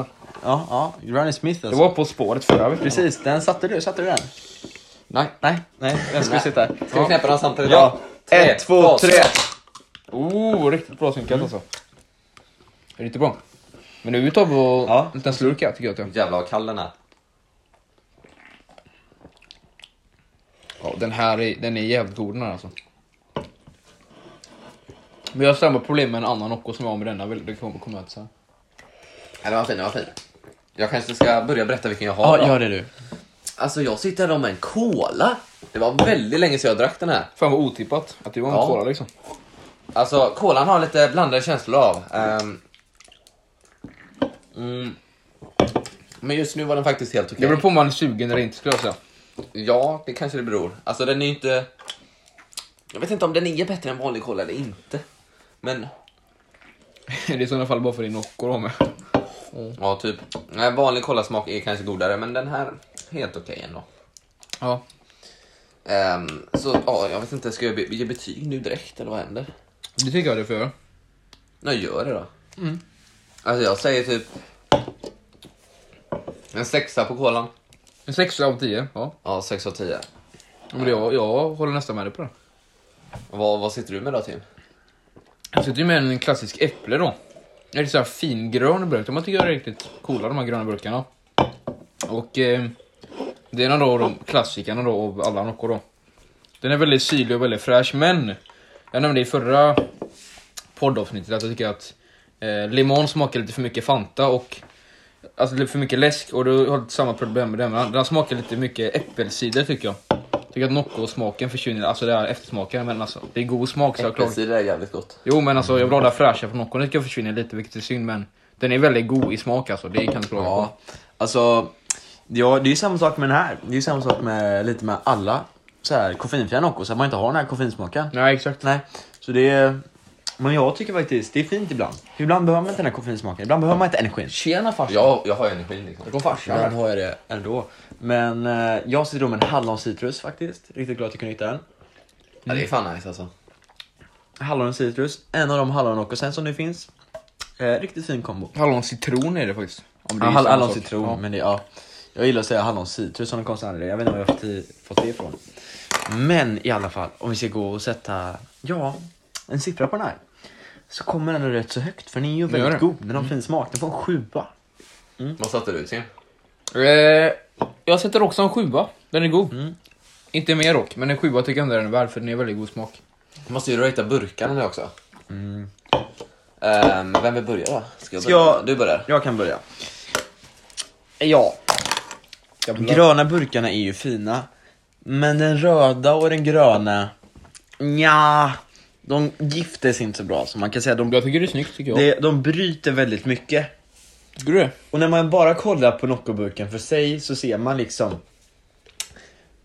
Speaker 1: Ja, ja. Granny Smith
Speaker 2: Det
Speaker 1: alltså.
Speaker 2: var på spåret förra veckan.
Speaker 1: Precis, den satte du. Satte du den?
Speaker 2: Nej.
Speaker 1: Nej, nej, den skulle sitta här.
Speaker 3: Ska vi knäppa dem samtidigt?
Speaker 1: Ja.
Speaker 3: Tre,
Speaker 1: Ett, två,
Speaker 3: två,
Speaker 1: tre.
Speaker 2: Oh, riktigt bra synkat
Speaker 1: Mm.
Speaker 2: alltså. Är det inte bra? Men nu tar vi och...
Speaker 1: Ja.
Speaker 2: En liten slurk här tycker jag att jag.
Speaker 3: Jävlar vad kall den är.
Speaker 2: Ja, den här är, den är jävligt god den här alltså. Men jag har samma problem med en annan Nocco som jag har med denna. väl- Det kommer komma ut sen.
Speaker 3: Ja, den var fin, den var fin. Jag kanske ska börja berätta vilken jag har
Speaker 1: Ja,
Speaker 3: då.
Speaker 1: gör det du.
Speaker 3: Alltså jag sitter här med en cola. Det var väldigt länge sedan jag drack den här.
Speaker 2: Fan vad otippat att du var en
Speaker 3: Ja.
Speaker 2: tvåa liksom.
Speaker 3: Alltså kolan har lite blandade känslor av. Ehm. mm. Men just nu var den faktiskt helt
Speaker 2: Det
Speaker 3: okej.
Speaker 2: beror på om man är sugen eller inte skulle jag säga.
Speaker 3: Ja, det kanske det beror. Alltså den är ju inte... Jag vet inte om den är bättre än vanlig cola eller inte. Men
Speaker 2: Det är i sådana fall bara för din Nocco då med.
Speaker 3: ja, typ. Nej, vanlig kolasmak är kanske godare, men den här helt okej ändå.
Speaker 2: Ja.
Speaker 3: Ehm, så ja, jag vet inte, ska jag be- ge betyg nu direkt eller vad händer?
Speaker 2: Det tycker jag du får göra.
Speaker 3: Nej, gör det då. Alltså jag säger typ en sexa på kolan.
Speaker 2: En sexa av tio. Ja.
Speaker 3: Ja, sex av tio.
Speaker 2: Ja, Men jag, jag håller nästan med dig på det.
Speaker 3: Vad, vad sitter du med då Tim?
Speaker 2: Jag sitter ju med en klassisk äpple då. Det är så här fingrön burk. De här tycker jag är riktigt coola de här gröna burkarna. Och eh, det är en av de klassikerna då av alla Nocco då. Den är väldigt syrlig och väldigt fräsch men jag nämnde i förra poddavsnittet att jag tycker att eh, limon smakar lite för mycket Fanta och alltså lite för mycket läsk och då har jag samma problem med den. Den smakar lite mycket äppelcider tycker jag. Tycker att Nocco-smaken försvinner, alltså det här eftersmaken. Men alltså, det är god smak så jag klagar.
Speaker 3: Äppelcider är jävligt gott.
Speaker 2: Jo men alltså jag vill ha det fräscha från Nocco. Den ska försvinna lite vilket är synd men den är väldigt god i smak alltså. Det kan jag klaga på.
Speaker 1: Ja, alltså. Ja, det är ju samma sak med den här. Det är ju samma sak med lite med alla så här, koffeinfria Nocco, så att man inte har den här koffeinsmaken.
Speaker 2: Nej exakt.
Speaker 1: Nej, så det är... Men jag tycker faktiskt det är fint ibland. Ibland behöver man inte den här koffeinsmaken, ibland behöver man inte energin.
Speaker 3: Tjena farsan! Ja, jag har ju energin liksom.
Speaker 1: Kom farsan. Ibland har jag det ändå. Men eh, jag sitter då med en hallon-citrus faktiskt. Riktigt glad att jag kunde hitta den.
Speaker 3: Ja, det är fan nice alltså.
Speaker 1: Hallon-citrus, en av de hallon-noccosen som nu finns. Eh, riktigt fin kombo.
Speaker 2: Hallon citron är det faktiskt. Om det
Speaker 1: Ja,
Speaker 2: är
Speaker 1: hall-
Speaker 2: samma
Speaker 1: hallon
Speaker 2: sak.
Speaker 1: citron,
Speaker 2: Ja.
Speaker 1: men det, ja. Jag gillar att säga hallon citrus som en konstig anledning. Jag vet inte var jag har fått i- fått det ifrån. Men i alla fall, om vi ska gå och sätta, ja, en siffra på den här. Så kommer den rätt så högt, för den är ju
Speaker 2: gör
Speaker 1: väldigt
Speaker 2: den. Mm.
Speaker 1: god. Den har fin smak. Den får en sjua.
Speaker 3: Vad satte du till?
Speaker 2: Eh, jag sätter också en sjua. Den är god. Inte mer dock, men en sjua tycker jag ändå den är värd för den är väldigt god smak.
Speaker 3: Måste ju ratea burkarna nu också. Ehm, vem vill börja då? Mm. Ska jag
Speaker 1: Ska
Speaker 3: börja?
Speaker 1: jag-
Speaker 3: Du börjar.
Speaker 1: Jag kan börja. Ja, gröna burkarna är ju fina. Men den röda och den gröna, ja, de gifter sig inte så bra. Så man kan säga att de,
Speaker 2: Jag tycker det är snyggt tycker jag.
Speaker 1: de, de bryter väldigt mycket.
Speaker 2: Tycker du det?
Speaker 1: Och när man bara kollar på Noccoburken för sig så ser man liksom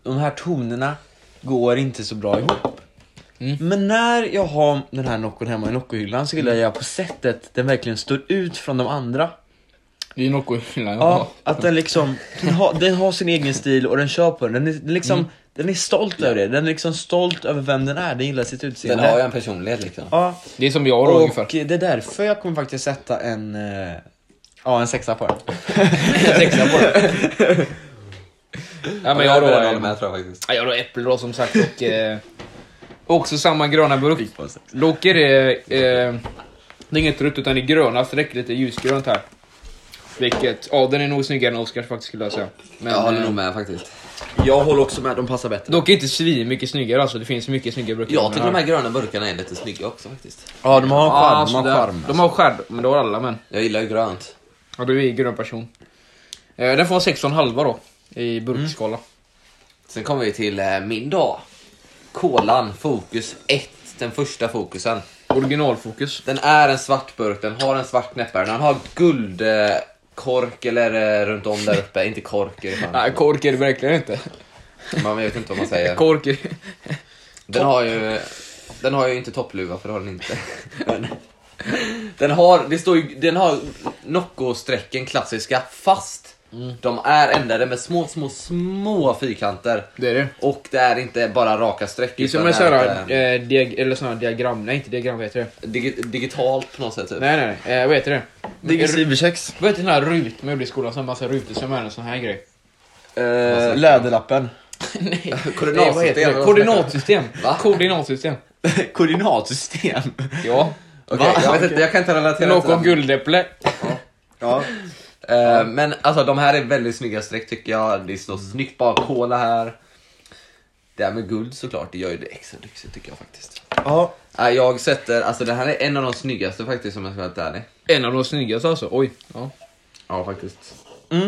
Speaker 1: De här tonerna går inte så bra ihop Men när jag har den här Noccon hemma i Noccohyllan så gillar jag på sättet den verkligen står ut från de andra
Speaker 2: Det är Nocco i hyllan.
Speaker 1: Ja, att den liksom den har, den har sin egen stil och den kör på den, den är den liksom
Speaker 2: Mm.
Speaker 1: Den är stolt över det, den är liksom stolt över vem den är, den gillar sitt
Speaker 3: Den
Speaker 1: utseende
Speaker 3: har ju en personlighet liksom.
Speaker 1: Ja,
Speaker 2: Det är som jag då
Speaker 1: och
Speaker 2: ungefär.
Speaker 1: det är därför jag kommer faktiskt sätta en eh, Ja, en sexa på den
Speaker 2: Sexa på den. ja, men jag då,
Speaker 3: jag
Speaker 2: eh,
Speaker 3: håller med tror jag faktiskt.
Speaker 2: ja, jag då äpple då som sagt och eh, också samma gröna burk. Dock är det, eh, det är inget rött utan det är gröna så det räcker lite ljusgrönt här. Vilket, ja den är nog snyggare än Oscars faktiskt skulle jag säga. Men,
Speaker 3: Jag håller
Speaker 2: eh,
Speaker 3: nog med faktiskt.
Speaker 1: Jag håller också med, de passar bättre
Speaker 2: Dock inte svin mycket snyggare alltså, det finns mycket snyggare burkar.
Speaker 3: Jag tycker de här gröna burkarna är lite snygga också faktiskt.
Speaker 1: Ja, de har en
Speaker 2: Ja,
Speaker 1: charm.
Speaker 2: alltså,
Speaker 1: de
Speaker 2: det-
Speaker 1: har charm.
Speaker 2: De har skärm, men det har alla men.
Speaker 3: Jag gillar ju grönt.
Speaker 2: Ja, du är ju grön person. Eh, den får 6,5 då, i burkskala.
Speaker 3: Sen kommer vi till eh, min dag. Kolan Fokus 1. Den första fokusen.
Speaker 2: Mm. Originalfokus.
Speaker 3: Den är en svart burk, den har en svart näppare, den har guld eh, kork eller eh, runt om där uppe. inte kork. är det fan.
Speaker 2: Nej, kork är det verkligen inte.
Speaker 3: Man vet inte vad man säger.
Speaker 2: Kork är...
Speaker 3: Den har ju, den har ju inte toppluva för det har den inte. Men, den har, det står ju, den har Nocco-strecken klassiska fast
Speaker 2: Mm.
Speaker 3: de är ändade med små, små, små fyrkanter.
Speaker 2: Det är det.
Speaker 3: Och det är inte bara raka streck.
Speaker 2: Det är som
Speaker 3: utan
Speaker 2: en sån
Speaker 3: är
Speaker 2: här,
Speaker 3: lite
Speaker 2: eh, diag- eller sån här diagram, nej inte diagram, vad heter det?
Speaker 3: digi- digitalt på något sätt. Typ.
Speaker 2: Nej nej, nej. Eh, vad heter det? Eh, Ru-
Speaker 1: Digesivkex.
Speaker 2: Vad heter den här rut man gjorde i skolan, sån här massa rutor som är en sån här grej?
Speaker 1: Eh, läderlappen.
Speaker 2: nej,
Speaker 3: Koordinatsystem,
Speaker 2: vad heter
Speaker 3: eller
Speaker 2: det?
Speaker 3: vad
Speaker 2: Koordinatsystem!
Speaker 3: Va?
Speaker 2: Koordinatsystem!
Speaker 1: Koordinatsystem.
Speaker 2: Ja.
Speaker 3: Okej,
Speaker 1: Va?
Speaker 3: jag, vet inte, jag kan inte relatera till
Speaker 2: Någon
Speaker 3: den.
Speaker 2: guldäpple.
Speaker 1: Ja.
Speaker 3: Eh, men alltså de här är väldigt snygga streck tycker jag. Det står snyggt bara kola här. Det här med guld såklart, det gör ju det extra lyxigt tycker jag faktiskt.
Speaker 1: ja.
Speaker 3: Nej, Jag sätter, alltså det här är en av de snyggaste faktiskt om jag ska vara helt ärlig.
Speaker 2: En av de snyggaste alltså, oj. Ja.
Speaker 3: Ja faktiskt.
Speaker 1: Mm.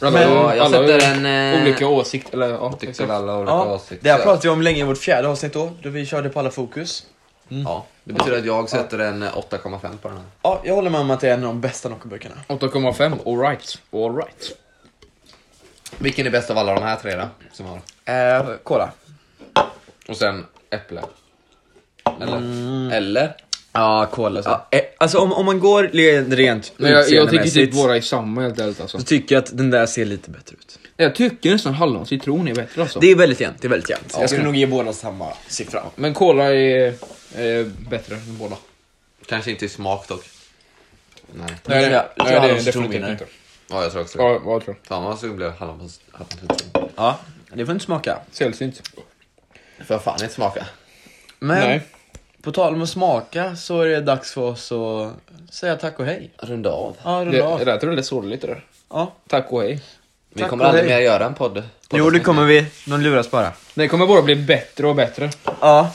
Speaker 2: Alltså,
Speaker 1: Men-
Speaker 2: alla
Speaker 3: jag
Speaker 2: har ju
Speaker 3: sätter en, eh,
Speaker 2: Olika åsikt, eller ja.
Speaker 3: Tycker
Speaker 2: exakt.
Speaker 3: väl alla olika
Speaker 1: ja.
Speaker 3: åsikter.
Speaker 1: Det här pratade vi om länge i vårt fjärde avsnitt då, då vi körde på alla fokus.
Speaker 3: Ja, Mm. det betyder att jag sätter en eh, 8,5 på den här.
Speaker 1: Ja, jag håller med om att det är en av de bästa Noccoburkarna.
Speaker 2: 8,5, alright. Alright.
Speaker 3: Vilken är bäst av alla de här tre då? Som har.
Speaker 1: Eh, kolla.
Speaker 3: Och sen äpple. Eller? Eller?
Speaker 1: Ja, kolla så. alltså om, om man går le- rent
Speaker 2: Men jag, jag tycker typ
Speaker 1: utseendemässigt,
Speaker 2: båda är samma helt ärligt alltså.
Speaker 1: så tycker jag att den där ser lite bättre ut.
Speaker 2: Jag tycker nästan halloncitron är bättre alltså.
Speaker 1: Det är väldigt jämnt, det är väldigt jämnt. jag skulle
Speaker 2: det är
Speaker 1: nog ge båda samma siffra.
Speaker 2: Men cola är eh, bättre än båda.
Speaker 3: Kanske inte i smak dock. Nej.
Speaker 1: Nej, det-
Speaker 2: Nej,
Speaker 1: jag tror halloncitron vinner.
Speaker 3: Ja, jag tror också det.
Speaker 2: Ja, jag tror
Speaker 3: Fan vad sugen blev hallon på hallonpizza.
Speaker 1: Ja, det får inte smaka.
Speaker 2: Sällsynt.
Speaker 3: Får jag fan inte smaka?
Speaker 1: Men,
Speaker 2: Nej.
Speaker 1: på tal om att smaka så är det dags för oss att säga tack och hej.
Speaker 3: Runda av.
Speaker 1: Ja,
Speaker 2: Det,
Speaker 1: rulla av.
Speaker 2: det lät väldigt sorgligt det där.
Speaker 1: Ja.
Speaker 2: Tack och hej.
Speaker 3: Vi
Speaker 1: Tack
Speaker 3: kommer
Speaker 1: och
Speaker 3: aldrig
Speaker 1: hej.
Speaker 3: mer göra en podd.
Speaker 1: Jo, det kommer vi. De luras bara.
Speaker 2: Det kommer bara bli bättre och bättre.
Speaker 1: Ja.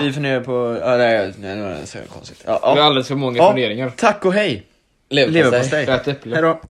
Speaker 1: Vi funderar på... Ja, nej, nej, nej, det är konstigt. Ja,
Speaker 2: Det är
Speaker 1: ja.
Speaker 2: alldeles för många
Speaker 1: Ja.
Speaker 2: funderingar.
Speaker 1: Tack och hej!
Speaker 3: Leverpastej.
Speaker 1: Leverpastej.
Speaker 2: Ät äpple.
Speaker 1: Hej då.